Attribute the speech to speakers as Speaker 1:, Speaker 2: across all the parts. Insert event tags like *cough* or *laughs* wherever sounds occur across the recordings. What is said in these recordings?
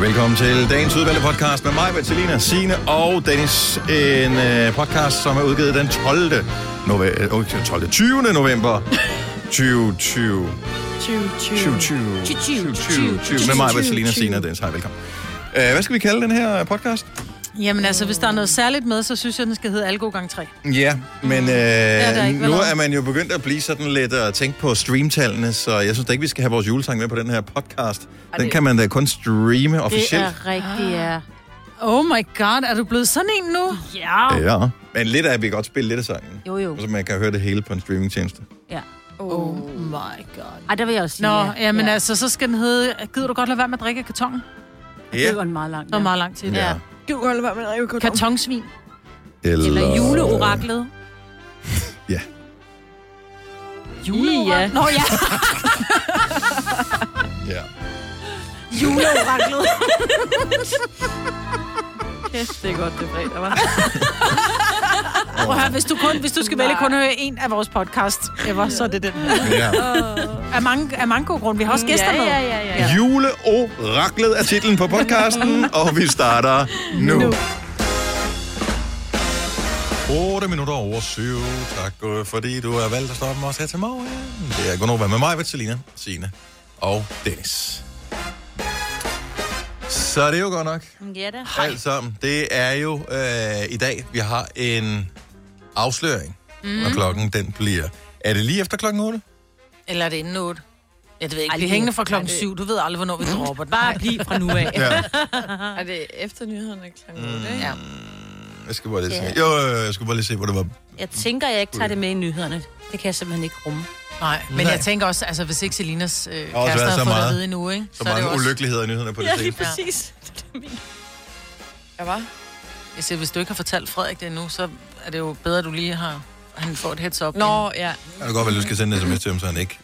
Speaker 1: Velkommen til dagens udvalgte podcast med mig, Bertilina, Sine og Dennis. En øh, podcast, som er udgivet den 12. Nove- øh, 12. 20. november 2020. 2020. 2020. Med mig, Bertilina, Sine og Dennis. Hej, velkommen. Øh, hvad skal vi kalde den her podcast?
Speaker 2: Jamen altså, hvis der er noget særligt med, så synes jeg, den skal hedde Algo gang 3.
Speaker 1: Ja, men øh,
Speaker 2: er
Speaker 1: er
Speaker 2: ikke, vel
Speaker 1: nu
Speaker 2: om?
Speaker 1: er man jo begyndt at blive sådan lidt og tænke på streamtallene, så jeg synes da ikke, vi skal have vores julesang med på den her podcast. Den kan man da kun streame officielt.
Speaker 3: Det er rigtigt, ja.
Speaker 2: Oh my god, er du blevet sådan en nu?
Speaker 3: Ja.
Speaker 1: Ja, men lidt af, vi kan godt spille lidt af sangen.
Speaker 3: Ah. Jo, jo.
Speaker 1: Så man kan høre det hele på en streamingtjeneste.
Speaker 3: Ja.
Speaker 2: Oh my god.
Speaker 3: Ej, der vil jeg også sige,
Speaker 2: Nå,
Speaker 3: ja.
Speaker 2: jamen
Speaker 3: ja.
Speaker 2: altså, så skal den hedde, gider du godt lade være med at drikke af kartongen?
Speaker 3: Det var en meget lang.
Speaker 2: Det var meget lang tid.
Speaker 1: Ja.
Speaker 4: Du kan holde være med Rikke Karton.
Speaker 2: Kartonsvin.
Speaker 1: Eller,
Speaker 3: Eller juleoraklet.
Speaker 1: Ja.
Speaker 3: Juleoraklet?
Speaker 2: Nå ja,
Speaker 1: ja.
Speaker 2: *laughs*
Speaker 3: Juleoraklet.
Speaker 4: Kæft, det er godt, det er fredag, var.
Speaker 2: prøv at høre, hvis du, kun, hvis du skal vælge kun at høre en af vores podcast ever, så er det den her.
Speaker 1: ja.
Speaker 2: Af mange, af mange gode grunde. Vi har også gæster med.
Speaker 3: Mm, ja, ja, ja, ja.
Speaker 1: Juleoraklet er titlen på podcasten,
Speaker 3: *laughs*
Speaker 1: og vi starter nu. nu. 8 minutter over 7. Tak, øh, fordi du har valgt at stoppe med os her til morgen. Det er Gunnova med mig, Vitalina, Signe og Dennis. Så er det jo godt nok.
Speaker 3: Ja, da.
Speaker 1: Alt
Speaker 5: Altså.
Speaker 1: sammen. Det er jo øh, i dag, vi har en afsløring, mm. når klokken den bliver. Er det lige efter klokken 8?
Speaker 2: Eller er det inden 8? Jeg ved ikke,
Speaker 3: Ej,
Speaker 2: vi er
Speaker 3: det-
Speaker 2: hængende fra klokken
Speaker 4: ej, det-
Speaker 2: 7. Du ved aldrig, hvornår vi dropper den.
Speaker 3: Bare bliv fra nu af.
Speaker 1: Ja.
Speaker 4: Er det efter nyhederne kl. 8, mm.
Speaker 2: Ja.
Speaker 1: Jeg skal bare lige se.
Speaker 3: Ja.
Speaker 1: Jo, jo, jo, jeg skulle bare lige se, hvor det var.
Speaker 3: Jeg tænker, jeg ikke tager det med i nyhederne. Det kan jeg simpelthen ikke rumme.
Speaker 2: Nej, men
Speaker 1: Nej.
Speaker 2: jeg tænker også, altså hvis ikke Selinas øh, kæreste
Speaker 1: været
Speaker 2: har
Speaker 1: så
Speaker 2: fået det at
Speaker 1: meget-
Speaker 2: vide endnu, ikke?
Speaker 1: Så, så
Speaker 2: er det
Speaker 1: mange
Speaker 2: jo også-
Speaker 1: ulykkeligheder i nyhederne på det ja,
Speaker 4: præcis. Ja, var.
Speaker 2: Jeg siger, hvis du ikke har fortalt Frederik det endnu, så er det jo bedre, at du lige har... Han får et heads up. inden.
Speaker 4: Nå, ja.
Speaker 1: Jeg kan godt være, at du skal sende en sms til ham, så han ikke...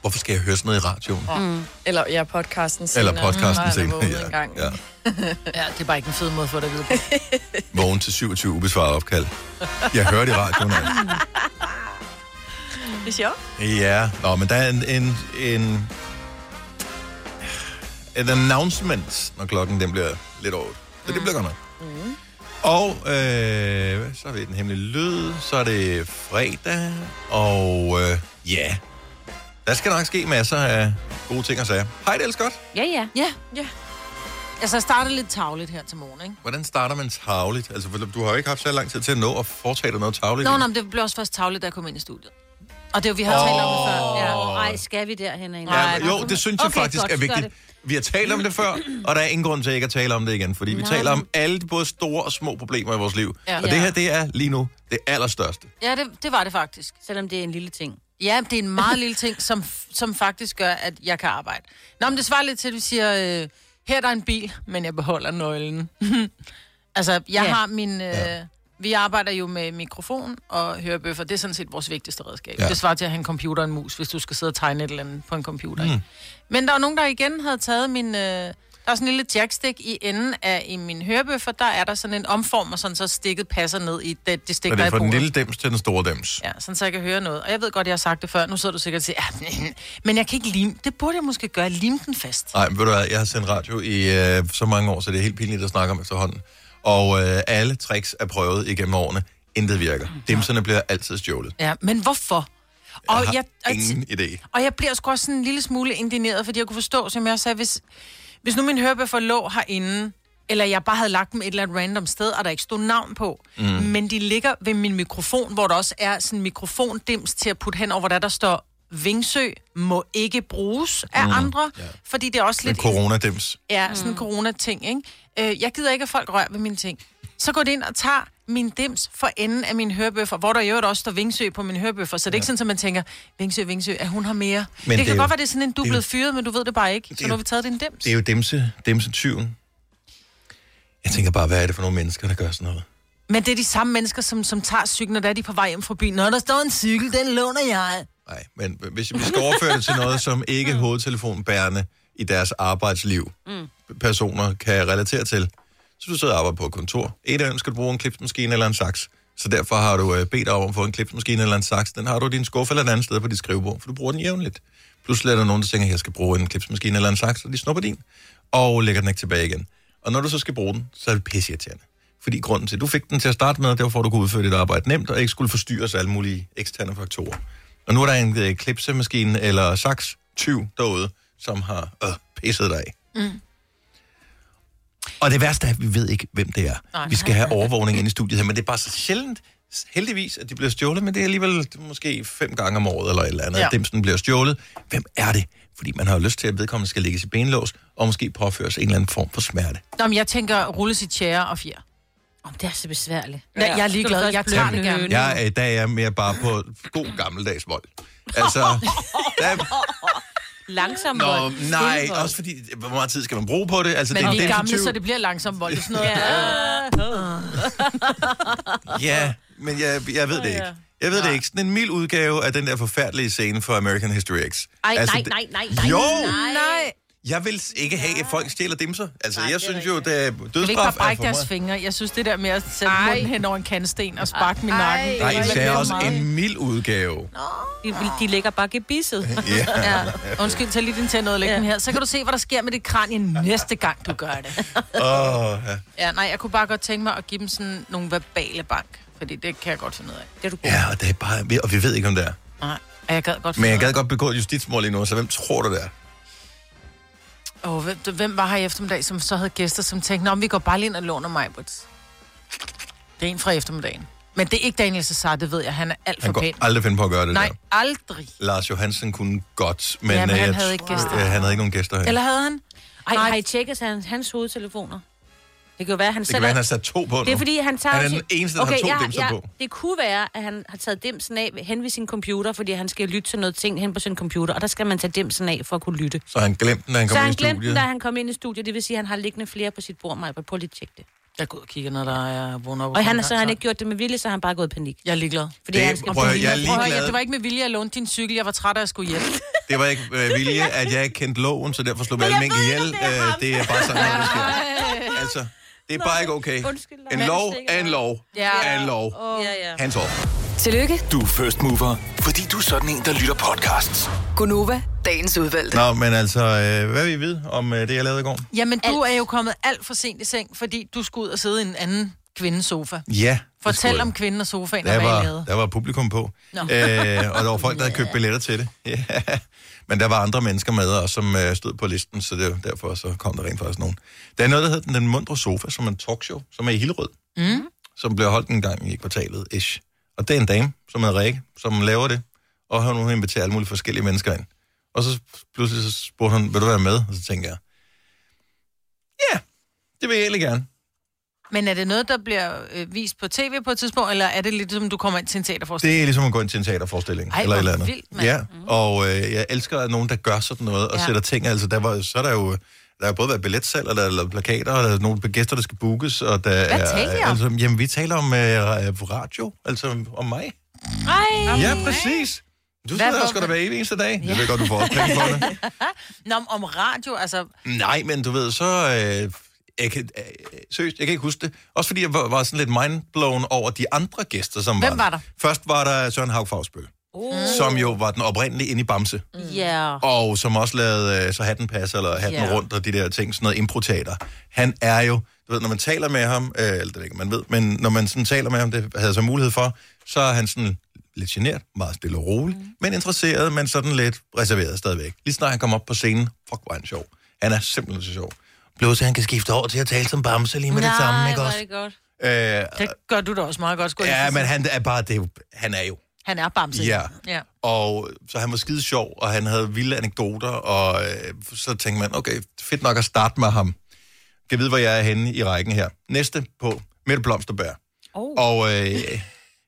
Speaker 1: Hvorfor skal jeg høre sådan noget i radioen?
Speaker 4: Eller ja, podcasten senere.
Speaker 1: Eller podcasten
Speaker 4: Mm.
Speaker 1: senere.
Speaker 4: Ja, en gang.
Speaker 1: Ja, ja.
Speaker 2: *laughs* Ja, det er bare ikke en fed måde at få det at vide på.
Speaker 1: Vågen til 27 ubesvarede opkald. *laughs* Jeg hørte i radioen. altså.
Speaker 4: Det er sjovt.
Speaker 1: Ja, Nå, men der er en, en, en et announcement, når klokken den bliver lidt over. otte. Så det bliver godt nok. Og øh, hvad, så er vi den hemmelige lyd, så er det fredag, og øh, ja, der skal nok ske masser af gode ting og sager. Hej, det er godt.
Speaker 3: Ja, ja.
Speaker 2: Ja, ja. Altså, jeg startede lidt tavligt her til morgen, ikke?
Speaker 1: Hvordan starter man tavligt? Altså, for du har jo ikke haft så lang tid til at nå at foretage dig noget tavligt.
Speaker 2: Nå, nå, men det blev også først tavligt, da jeg kom ind i studiet. Og det er jo, vi har
Speaker 1: Åh.
Speaker 2: talt om det før. Ja.
Speaker 1: Åh.
Speaker 3: Ej, skal vi derhen?
Speaker 2: Ja,
Speaker 1: Ja, jo, det synes jeg
Speaker 3: Okay,
Speaker 1: faktisk
Speaker 3: godt,
Speaker 1: er
Speaker 3: så
Speaker 1: vigtigt. Vi har talt om det før, og der er ingen grund til ikke at tale om det igen, fordi vi
Speaker 3: Nej.
Speaker 1: taler om alle de både store og små problemer i vores liv.
Speaker 2: Ja.
Speaker 1: Og det her, det er lige nu det allerstørste.
Speaker 2: Ja, det, det var det faktisk.
Speaker 3: Selvom det er en lille ting.
Speaker 2: Ja, det er en meget lille ting, som, som faktisk gør, at jeg kan arbejde. Nå, men det svarer lidt til, at du siger, øh, her er der en bil, men jeg beholder nøglen. *laughs* altså, jeg ja.
Speaker 3: Ja.
Speaker 2: har min... Øh, ja. Vi arbejder jo med mikrofon og hørebøffer. Det er sådan set vores vigtigste redskab.
Speaker 1: Ja.
Speaker 2: Ja. Det svarer til at have en computer og en mus, hvis du skal sidde og tegne et eller andet på en computer. Mm. Ikke? Men der var nogen, der igen havde taget min... Øh, der er sådan en lille jackstick i enden af i min hørebøffer. Der er der sådan en omformer, sådan så stikket passer ned i det, det stik,
Speaker 1: Så
Speaker 2: der
Speaker 1: det
Speaker 2: er
Speaker 1: er
Speaker 2: i
Speaker 1: fra den
Speaker 2: bordet.
Speaker 1: lille dems til den store dems.
Speaker 2: Ja, sådan så jeg kan høre noget. Og jeg ved godt, jeg har sagt det før. Nu sidder du sikkert og siger, ja, men, men jeg kan ikke lime. Det burde jeg måske gøre. Lime den fast.
Speaker 1: Nej, men ved du hvad, jeg har sendt radio i øh, så mange år, så det er helt pinligt at snakke om efterhånden. Og øh, alle tricks er prøvet igennem årene. Intet virker. Dimserne bliver altid stjålet.
Speaker 2: Ja, men hvorfor? Og
Speaker 1: Jeg
Speaker 2: jeg,
Speaker 1: har
Speaker 2: og,
Speaker 1: ingen idé.
Speaker 2: og jeg bliver sgu også sådan en lille smule indigneret, fordi jeg kunne forstå, som jeg også sagde, hvis, hvis nu min hørebøffer lå herinde, eller jeg bare havde lagt dem et eller andet random sted, og der ikke stod navn på, mm. men de ligger ved min mikrofon, hvor der også er sådan en mikrofondims til at putte hen over, hvor der, der står, Vingsø må ikke bruges af mm. andre, ja. fordi det er også
Speaker 1: Men
Speaker 2: lidt...
Speaker 1: corona-dims.
Speaker 2: Ja, sådan en
Speaker 3: Mm.
Speaker 2: corona-ting, ikke? Øh, jeg gider ikke, at folk rører ved mine ting. Så går det ind og tager min dims for enden af min hørbøffer, hvor der i øvrigt også står Vingsø på min hørbøffer, så det er ikke sådan, at man tænker, Vingsø, Vingsø, at hun har mere. Men det,
Speaker 1: det
Speaker 2: kan
Speaker 1: er
Speaker 2: godt
Speaker 1: jo-
Speaker 2: være, det er sådan en, du er
Speaker 1: det er
Speaker 2: blevet fyret, men du ved det bare ikke, så
Speaker 1: er
Speaker 2: nu
Speaker 1: jo-
Speaker 2: har vi taget din dims.
Speaker 1: Det er jo dimse, dimse-tyven. Jeg tænker bare, hvad er det for nogle mennesker, der gør sådan noget?
Speaker 2: Men det er de samme mennesker, som, som tager cyklen, og der er de på vej hjem fra byen. Når der står en cykel, den låner jeg.
Speaker 1: Nej, men hvis vi skal overføre det til noget, som ikke hovedtelefonbærende i deres arbejdsliv personer kan relatere til. Så du sidder og arbejder på et kontor. Et af dem skal du bruge en klipsmaskine eller en saks. Så derfor har du øh, bedt om at få en klipsmaskine eller en saks. Den har du i din skuffe eller et andet sted på dit skrivebord, for du bruger den jævnligt. Pludselig er der nogen, der tænker, at jeg skal bruge en klipsmaskine eller en saks, og de snupper din, og lægger den ikke tilbage igen. Og når du så skal bruge den, så er det pisseirriterende. Fordi grunden til, at du fik den til at starte med, det var for, at du kunne udføre dit arbejde nemt, og ikke skulle forstyrres af alle mulige eksterne faktorer. Og nu er der en øh, klipsemaskine eller saks 20 derude, som har øh, pisset dig af. Og det værste er, at vi ved ikke, hvem det er. Nej,
Speaker 2: Nej.
Speaker 1: vi skal have overvågning inde i studiet her, men det er bare så sjældent, heldigvis, at de bliver stjålet, men det er alligevel måske fem gange om året eller et eller andet, ja.
Speaker 2: Ja.
Speaker 1: at dimsen bliver stjålet. Hvem er det? Fordi man har jo lyst til, at vedkommende skal lægges i benlås, og måske påføres en eller anden form for smerte.
Speaker 2: Nå, men jeg tænker rulles i tjære og fjer.
Speaker 3: Om det er så besværligt.
Speaker 2: Ja. Jeg er ligeglad, jeg tager det gerne.
Speaker 1: Jeg er i dag er jeg mere bare på god gammeldags vold.
Speaker 2: *laughs*
Speaker 1: Altså, der,
Speaker 3: Langsomt.
Speaker 1: nå, nej, også fordi, hvor meget tid skal man bruge på det? Altså,
Speaker 2: Men
Speaker 1: det
Speaker 2: vi er gamle,
Speaker 1: definitivt-
Speaker 2: så det bliver langsom vold. Det er sådan noget.
Speaker 1: Ja, men jeg, jeg ved det ikke. Jeg ved det ikke. Sådan en mild udgave af den der forfærdelige scene fra American History X.
Speaker 3: Ej,
Speaker 1: Altså,
Speaker 3: nej,
Speaker 1: det-
Speaker 3: nej, nej, nej.
Speaker 1: Jo!
Speaker 3: Nej.
Speaker 2: Nej.
Speaker 1: Jeg vil ikke have, at folk stjæler dimser. Altså,
Speaker 3: Nej,
Speaker 1: jeg
Speaker 3: det er
Speaker 1: synes jo, at øh,
Speaker 2: Jeg vil ikke bare
Speaker 1: dødsstraf er
Speaker 2: brække
Speaker 1: for
Speaker 2: deres
Speaker 1: meget.
Speaker 2: fingre. Jeg synes, det der med at sætte
Speaker 4: Ej.
Speaker 2: munden hen over en kandsten og sparke min
Speaker 4: Ej.
Speaker 2: nakken.
Speaker 4: Nej,
Speaker 1: Nej,
Speaker 2: det
Speaker 1: især
Speaker 2: er
Speaker 1: også
Speaker 2: meget.
Speaker 1: en mild udgave.
Speaker 3: De, de ligger bare gebisset. *laughs*
Speaker 1: Ja.
Speaker 2: Ja. Undskyld, tag lige din tænder og læg den her. Så kan du se, hvad der sker med dit kranie næste gang, du gør
Speaker 3: *laughs*
Speaker 2: det.
Speaker 1: Åh, ja.
Speaker 2: Ja, nej, jeg kunne bare godt tænke mig at give dem sådan nogle verbale bank. Fordi det kan jeg godt finde ud af.
Speaker 3: Det er du god.
Speaker 1: ja, og det er bare... vi- Og vi ved ikke, om det er.
Speaker 2: Nej, og jeg gad godt
Speaker 1: Men
Speaker 2: finde
Speaker 1: jeg
Speaker 2: ud
Speaker 1: gad godt begå et justitsmål lige nu, så hvem tror du, det er?
Speaker 2: af- Åh, hvem, hvem var her i eftermiddag, som så havde gæster, som tænkte, Nå, men vi går bare lige ind og låner mig, but. Det er en fra eftermiddagen. Men det er ikke Daniel Cesar, det ved jeg. Han er alt for
Speaker 1: Han
Speaker 2: pæn.
Speaker 1: kunne aldrig finde på at gøre det
Speaker 2: Nej,
Speaker 1: der.
Speaker 2: aldrig.
Speaker 1: Lars Johansen kunne godt, men,
Speaker 2: Ja, men
Speaker 1: øh,
Speaker 2: han
Speaker 1: jeg
Speaker 2: havde
Speaker 1: tr-
Speaker 2: ikke gæster.
Speaker 1: Ja, han havde ikke nogen gæster her.
Speaker 2: Eller havde han?
Speaker 3: Ej,
Speaker 2: Nej.
Speaker 3: har I tjekket hans, hans hovedtelefoner? Det kan jo være, han
Speaker 1: Det kan være, han har sat to på nu.
Speaker 3: Det er fordi, han tager...
Speaker 1: Han er
Speaker 3: sin-
Speaker 1: den eneste, der har to dimser på.
Speaker 3: Det kunne være, at han har taget dimsen af hen ved sin computer, fordi han skal lytte til noget ting hen på sin computer, og der skal man tage dimsen af for at kunne lytte.
Speaker 1: Så han glemte den, da han kom
Speaker 3: så
Speaker 1: ind
Speaker 3: han
Speaker 1: i
Speaker 3: glemte den,
Speaker 1: studiet.
Speaker 3: da han kom ind i studiet. Det vil sige, at han har liggende flere på sit bord, Maja. Prøv lige at tjekke det.
Speaker 2: Jeg går ud og kigger, når der er vågnet op.
Speaker 3: Og han, så har han ikke gjort det med vilje, så har han bare gået i panik.
Speaker 2: Jeg er ligeglad.
Speaker 3: Fordi
Speaker 1: Det-
Speaker 3: han skal
Speaker 1: prøv at høre, jeg er
Speaker 2: Prøv at høre,
Speaker 1: Ligeglad.
Speaker 2: ja, det var ikke med vilje, jeg lånte din cykel. Jeg var træt af at jeg skulle hjem.
Speaker 1: *laughs* Det var ikke
Speaker 2: *laughs*
Speaker 1: øh, vilje, at jeg ikke kendte loven, så derfor slog vi alle mink ihjel. Det er, øh, det er bare
Speaker 2: *laughs*
Speaker 1: sådan, noget, det sker. Altså, det er bare ikke okay.
Speaker 3: undskyld, Lars.
Speaker 1: En
Speaker 3: Men
Speaker 1: lov
Speaker 3: sikkert.
Speaker 1: er en lov
Speaker 2: Ja.
Speaker 1: er en lov.
Speaker 3: Ja, ja.
Speaker 1: Hans over.
Speaker 6: Tillykke,
Speaker 7: Du er first mover, fordi du er sådan en, der lytter podcasts.
Speaker 6: Gunova, dagens udvalgte.
Speaker 1: Nå, men altså, øh, hvad vi ved om øh, det, jeg lavede i går?
Speaker 2: Jamen, du er jo kommet alt for sent i seng, fordi du skulle ud og sidde i en anden kvindes sofa.
Speaker 1: Ja. det skulle
Speaker 2: Fortæl
Speaker 1: jeg.
Speaker 2: om kvinden og sofaen, og
Speaker 1: der
Speaker 2: hvad I
Speaker 1: var,
Speaker 2: lavede.
Speaker 1: der var publikum på, øh, og der var folk, der
Speaker 2: *laughs*
Speaker 1: havde købt billetter til det. Ja. Men der var andre mennesker med, og som øh, stod på listen, så det var derfor så kom der rent faktisk nogen. Der er noget, der hedder Den Mundre Sofa, som er en talkshow, som er i Hillerød, mm. som blev holdt en gang i kvartalet, ish. Og det er en dame, som hedder Rikke, som laver det, og hun har inviteret alle mulige forskellige mennesker ind. Og så pludselig så spurgte hun, vil du være med? Og så tænker jeg, ja, det vil jeg egentlig gerne.
Speaker 2: Men er det noget, der bliver øh, vist på tv på et tidspunkt, eller er det lidt som, du kommer ind til en teaterforestilling?
Speaker 1: Det er ligesom at gå ind til en teaterforestilling.
Speaker 2: Ej,
Speaker 1: eller et
Speaker 2: hvor
Speaker 1: eller andet.
Speaker 2: vildt, mand. Mhm.
Speaker 1: Ja, og øh, jeg elsker at nogen, der gør sådan noget, og ja.
Speaker 2: Ja.
Speaker 1: sætter ting. Altså, der var, så er der jo der har både været billetsalg, og der er plakater, og der er nogle gæster, der skal bookes. Og der Hvad er,
Speaker 2: taler I om?
Speaker 1: Altså, jamen, vi taler om øh, radio, altså om mig. Ej. Ja,
Speaker 2: *laughs*
Speaker 1: præcis. Du sidder der
Speaker 2: hvorfor?
Speaker 1: sgu da hver evig eneste dag. Ja. Jeg ved godt, du
Speaker 2: *laughs*
Speaker 1: får også penge for det.
Speaker 2: Nå, om- om radio, altså...
Speaker 1: Nej, men du ved, så... Øh, jeg kan, øh, seriøst, jeg kan ikke huske det. Også fordi jeg var, var sådan lidt mindblown over de andre gæster, som
Speaker 2: Hvem
Speaker 1: var,
Speaker 2: var der?
Speaker 1: Først var der Søren Haug Fagsbøl
Speaker 2: Mm.
Speaker 1: som jo var den oprindelige inde i Bamse,
Speaker 3: Ja.
Speaker 1: og som også lavede øh, så hatten passer, eller hatten yeah.
Speaker 3: Ja.
Speaker 1: rundt, og de der ting, sådan noget improteater. Han er jo, du ved, når man taler med ham, øh, eller det ved jeg ikke, man ved, men når man sådan taler med ham, det havde jeg så mulighed for, så er han sådan lidt genert, meget stille og rolig, mm. men interesseret, men sådan lidt reserveret stadigvæk. Lige snart han kom op på scenen, fuck, hvor er han sjov. Han er simpelthen så sjov. Blodet, han kan skifte over til at tale som Bamse lige med Nej, det samme, ikke
Speaker 3: hvor
Speaker 1: også?
Speaker 3: er det godt.
Speaker 1: Øh,
Speaker 2: Det gør du da også meget godt, skulle jeg
Speaker 1: ja,
Speaker 2: lige sige.
Speaker 1: men han er bare, det er jo, han er jo
Speaker 2: Han er bamse.
Speaker 1: Ja.
Speaker 2: ja.
Speaker 1: og så han var skide sjov, og han havde vilde anekdoter, og øh, så tænkte man, okay, fedt nok at starte med ham. Kan vide, hvor jeg er henne i rækken her. Næste på Mette Blomsterbær.
Speaker 3: Oh.
Speaker 1: Og øh,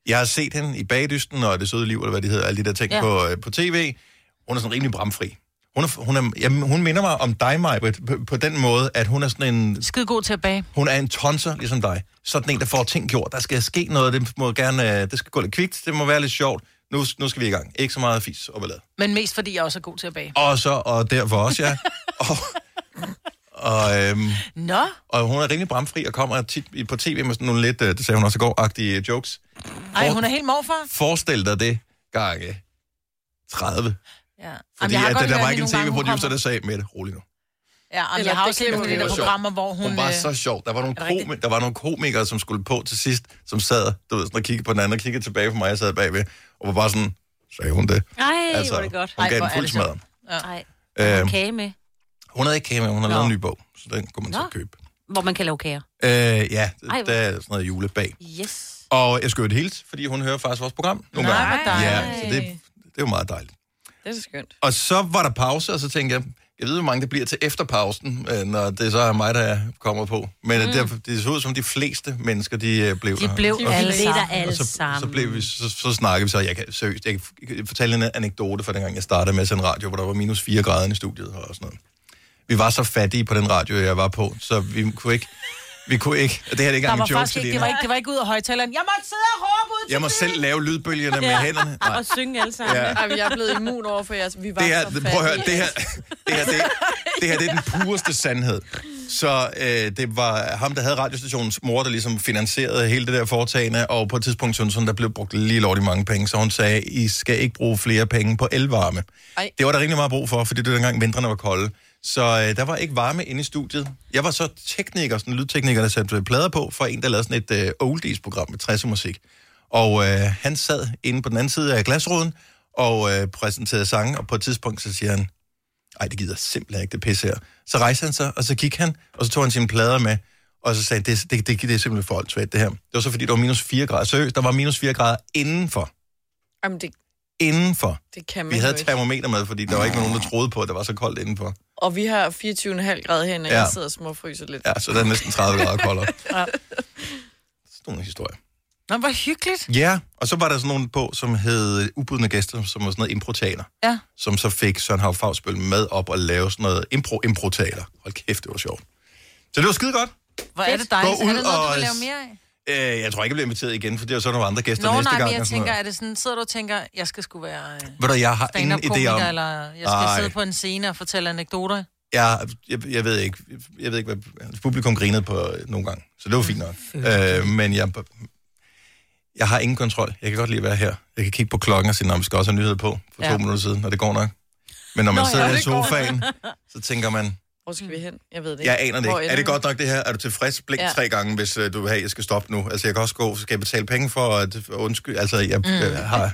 Speaker 1: jeg har set hende i Bagdysten og Det Søde Liv, eller hvad det hedder, alle de der ting ja.
Speaker 2: Ja.
Speaker 1: på, øh, på tv. Hun er sådan rimelig bramfri. Hun, er, hun, er, jamen, hun minder mig om dig, Majbrit, på, på den måde, at hun er sådan en
Speaker 2: Skide god til at bage.
Speaker 1: hun er en tonser, ligesom dig. Sådan en, der får ting gjort. Der skal ske noget, det, må gerne, øh, det skal gå lidt kvikt, det må være lidt sjovt. Nu, nu skal vi i gang. Ikke så meget fis og ballade.
Speaker 2: Men mest fordi jeg også er god til at bage.
Speaker 1: Og så, og derfor også,
Speaker 2: *laughs*
Speaker 1: ja. og, og, øhm,
Speaker 2: Nå,
Speaker 1: og hun er rimelig bramfri og kommer tit i- på tv med sådan nogle lidt, øh, det sagde hun også i går, agtige øh, jokes.
Speaker 2: ej, hun er helt morfar.
Speaker 1: Forestil dig det gange 30.
Speaker 2: Ja.
Speaker 1: Fordi
Speaker 2: jeg har
Speaker 1: at,
Speaker 2: godt
Speaker 1: der, der
Speaker 2: hørt
Speaker 1: var
Speaker 2: hende
Speaker 1: ikke en
Speaker 2: nogle gange, hun
Speaker 1: tv-producer,
Speaker 2: kommer-
Speaker 1: der sagde, Mette, rolig nu.
Speaker 2: Ja, jamen,
Speaker 4: Eller
Speaker 2: jeg har
Speaker 4: det
Speaker 2: også set
Speaker 4: kan
Speaker 2: nogle
Speaker 4: hun
Speaker 2: af de
Speaker 1: jo.
Speaker 2: der programmer, hvor hun...
Speaker 1: Hun var så
Speaker 2: øh,
Speaker 1: sjov. Der var, nogle
Speaker 2: er det
Speaker 1: kom- der var nogle komikere, som skulle på til sidst, som sad, du ved, sådan, og kiggede på den anden, og kiggede tilbage på mig, jeg sad bagved, og var bare sådan, sagde hun det?
Speaker 3: Ej, altså, hvor er det godt.
Speaker 1: Hun
Speaker 2: Ej,
Speaker 1: gav
Speaker 2: hvor
Speaker 1: den
Speaker 2: er
Speaker 1: fuld
Speaker 2: det sjovt.
Speaker 1: smadret.
Speaker 3: Ej,
Speaker 1: Øhm,
Speaker 3: kage med,
Speaker 1: hun havde ikke kage med, hun havde
Speaker 3: Nå.
Speaker 1: lavet en ny bog, så den kunne man så
Speaker 3: Nå.
Speaker 1: købe.
Speaker 3: hvor man kan lave kager.
Speaker 1: Øh, ja,
Speaker 3: Ej,
Speaker 1: der er sådan noget julebag.
Speaker 3: Yes.
Speaker 1: Og jeg skal jo et helt, fordi hun hører faktisk vores program nogle
Speaker 2: Nej,
Speaker 1: gange.
Speaker 2: hvor dejligt.
Speaker 1: Ja, så det, det er jo meget dejligt.
Speaker 4: Det er så skønt.
Speaker 1: Og så var der pause, og så tænkte jeg, jeg ved, hvor mange det bliver til efter pausen, øh, når det så er mig, der kommer på. Men mm. det, det så ud som de fleste mennesker, de øh, blev
Speaker 2: De
Speaker 1: her.
Speaker 2: blev
Speaker 4: Og-
Speaker 2: alle
Speaker 3: Alle
Speaker 2: sammen.
Speaker 3: der alle
Speaker 1: Og så,
Speaker 3: sammen.
Speaker 1: så, blev vi, så, så snakkede vi så, jeg kan, seriøst, jeg kan fortælle en anekdote fra dengang, jeg startede med at sende radio, hvor der var minus 4 grader inde i studiet og sådan noget. Vi var så fattige på den radio, jeg var på, så vi kunne ikke, vi kunne ikke, og det her er ikke
Speaker 2: Der
Speaker 1: engang
Speaker 2: var
Speaker 1: en joke,
Speaker 2: faktisk ikke, det var ikke, det var ikke ud af højtaleren. Jeg måtte sidde og råbe ud til
Speaker 1: Jeg må selv lave lydbølgerne med
Speaker 2: *laughs*
Speaker 1: hænderne. Nej.
Speaker 3: Og synge alle sammen.
Speaker 1: Ja.
Speaker 4: Ej, men jeg er blevet immun over for jeres. Vi var
Speaker 1: det her,
Speaker 4: så
Speaker 1: prøv at høre,
Speaker 4: fattige.
Speaker 1: det her, det her, det, det her, det er den pureste sandhed. Så øh, det var ham, der havde radiostationens mor, der ligesom finansierede hele det der foretagende, og på et tidspunkt syntes hun, der blev brugt lige lovligt mange penge, så hun sagde, I skal ikke bruge flere penge på elvarme.
Speaker 4: Ej.
Speaker 1: Det var der rigtig meget brug for, fordi det var dengang vintrene var kolde. Så øh, der var ikke varme inde i studiet. Jeg var så tekniker, sådan en lydtekniker, der satte øh, plader på, for en, der lavede sådan et øh, oldies-program med 60'er musik. Og øh, han sad inde på den anden side af glasruden og øh, præsenterede sange, og på et tidspunkt så siger han, ej, det gider jeg simpelthen ikke, det pisse her. Så rejste han sig, og så gik han, og så tog han sine plader med, og så sagde han, det, det, det, det er simpelthen for åndssvagt, det her. Det var så, fordi der var minus 4 grader. Seriøst, der var minus 4 grader indenfor.
Speaker 4: Jamen, det,
Speaker 1: Indenfor.
Speaker 4: det kan man
Speaker 1: Vi
Speaker 4: jo
Speaker 1: havde
Speaker 4: ikke.
Speaker 1: termometer med, fordi der var ikke nogen, der troede på, at det var så koldt indenfor.
Speaker 4: Og vi har 24,5 grader herinde, og
Speaker 1: Ja.
Speaker 4: jeg sidder og småfryser lidt.
Speaker 1: Ja, så der er næsten 30 grader
Speaker 4: *laughs*
Speaker 1: koldere. ja. Sådan en historie.
Speaker 2: Nå, hvor hyggeligt.
Speaker 1: Ja, og så var der sådan nogen på, som hed Ubudne Gæster, som var sådan noget improtaler.
Speaker 2: Ja.
Speaker 1: Som så fik Søren Hav Fagsbøl med op og lave sådan noget impro improtaler. Hold kæft, det var sjovt. Så det var skide godt.
Speaker 2: Hvor er det dejligt.
Speaker 1: Gå ud
Speaker 2: er det noget, du
Speaker 1: og-
Speaker 2: vil lave mere af?
Speaker 1: Øh, jeg tror ikke, jeg bliver inviteret igen, for det er jo så nogle andre gæster
Speaker 2: Nå,
Speaker 1: næste
Speaker 2: nej,
Speaker 1: gang.
Speaker 2: men jeg
Speaker 1: og sådan
Speaker 2: tænker,
Speaker 1: noget.
Speaker 2: er det sådan, sidder du og tænker, jeg skal sgu være øh,
Speaker 1: Ved du, jeg har ingen idé
Speaker 2: stand-up-komiker,
Speaker 1: om...
Speaker 2: eller jeg skal
Speaker 1: Ej.
Speaker 2: Ej. sidde på en scene og fortælle anekdoter?
Speaker 1: Jeg, jeg, jeg, ved ikke, jeg ved ikke, hvad altså, publikum grinede på øh, nogle gange, så det var fint nok. Øh, men jeg, jeg har ingen kontrol. Jeg kan godt lide at være her. Jeg kan kigge på klokken og sige, "Nå, vi skal også have nyheder på for ja. to
Speaker 2: Ja.
Speaker 1: minutter siden, og det går nok. Men når man Nå, sidder ja, i sofaen, så tænker man,
Speaker 4: Hvor skal vi hen? Jeg ved det ikke.
Speaker 1: jeg aner det
Speaker 4: Hvor
Speaker 1: ikke. Er
Speaker 4: ender
Speaker 1: det
Speaker 4: vi?
Speaker 1: godt nok det her? Er du tilfreds? Blink ja.
Speaker 4: Ja.
Speaker 1: tre gange, hvis øh, du vil have, at jeg skal stoppe nu. Altså, jeg kan også gå, skal jeg betale penge for at undskyld? Altså, jeg, mm. jeg, har,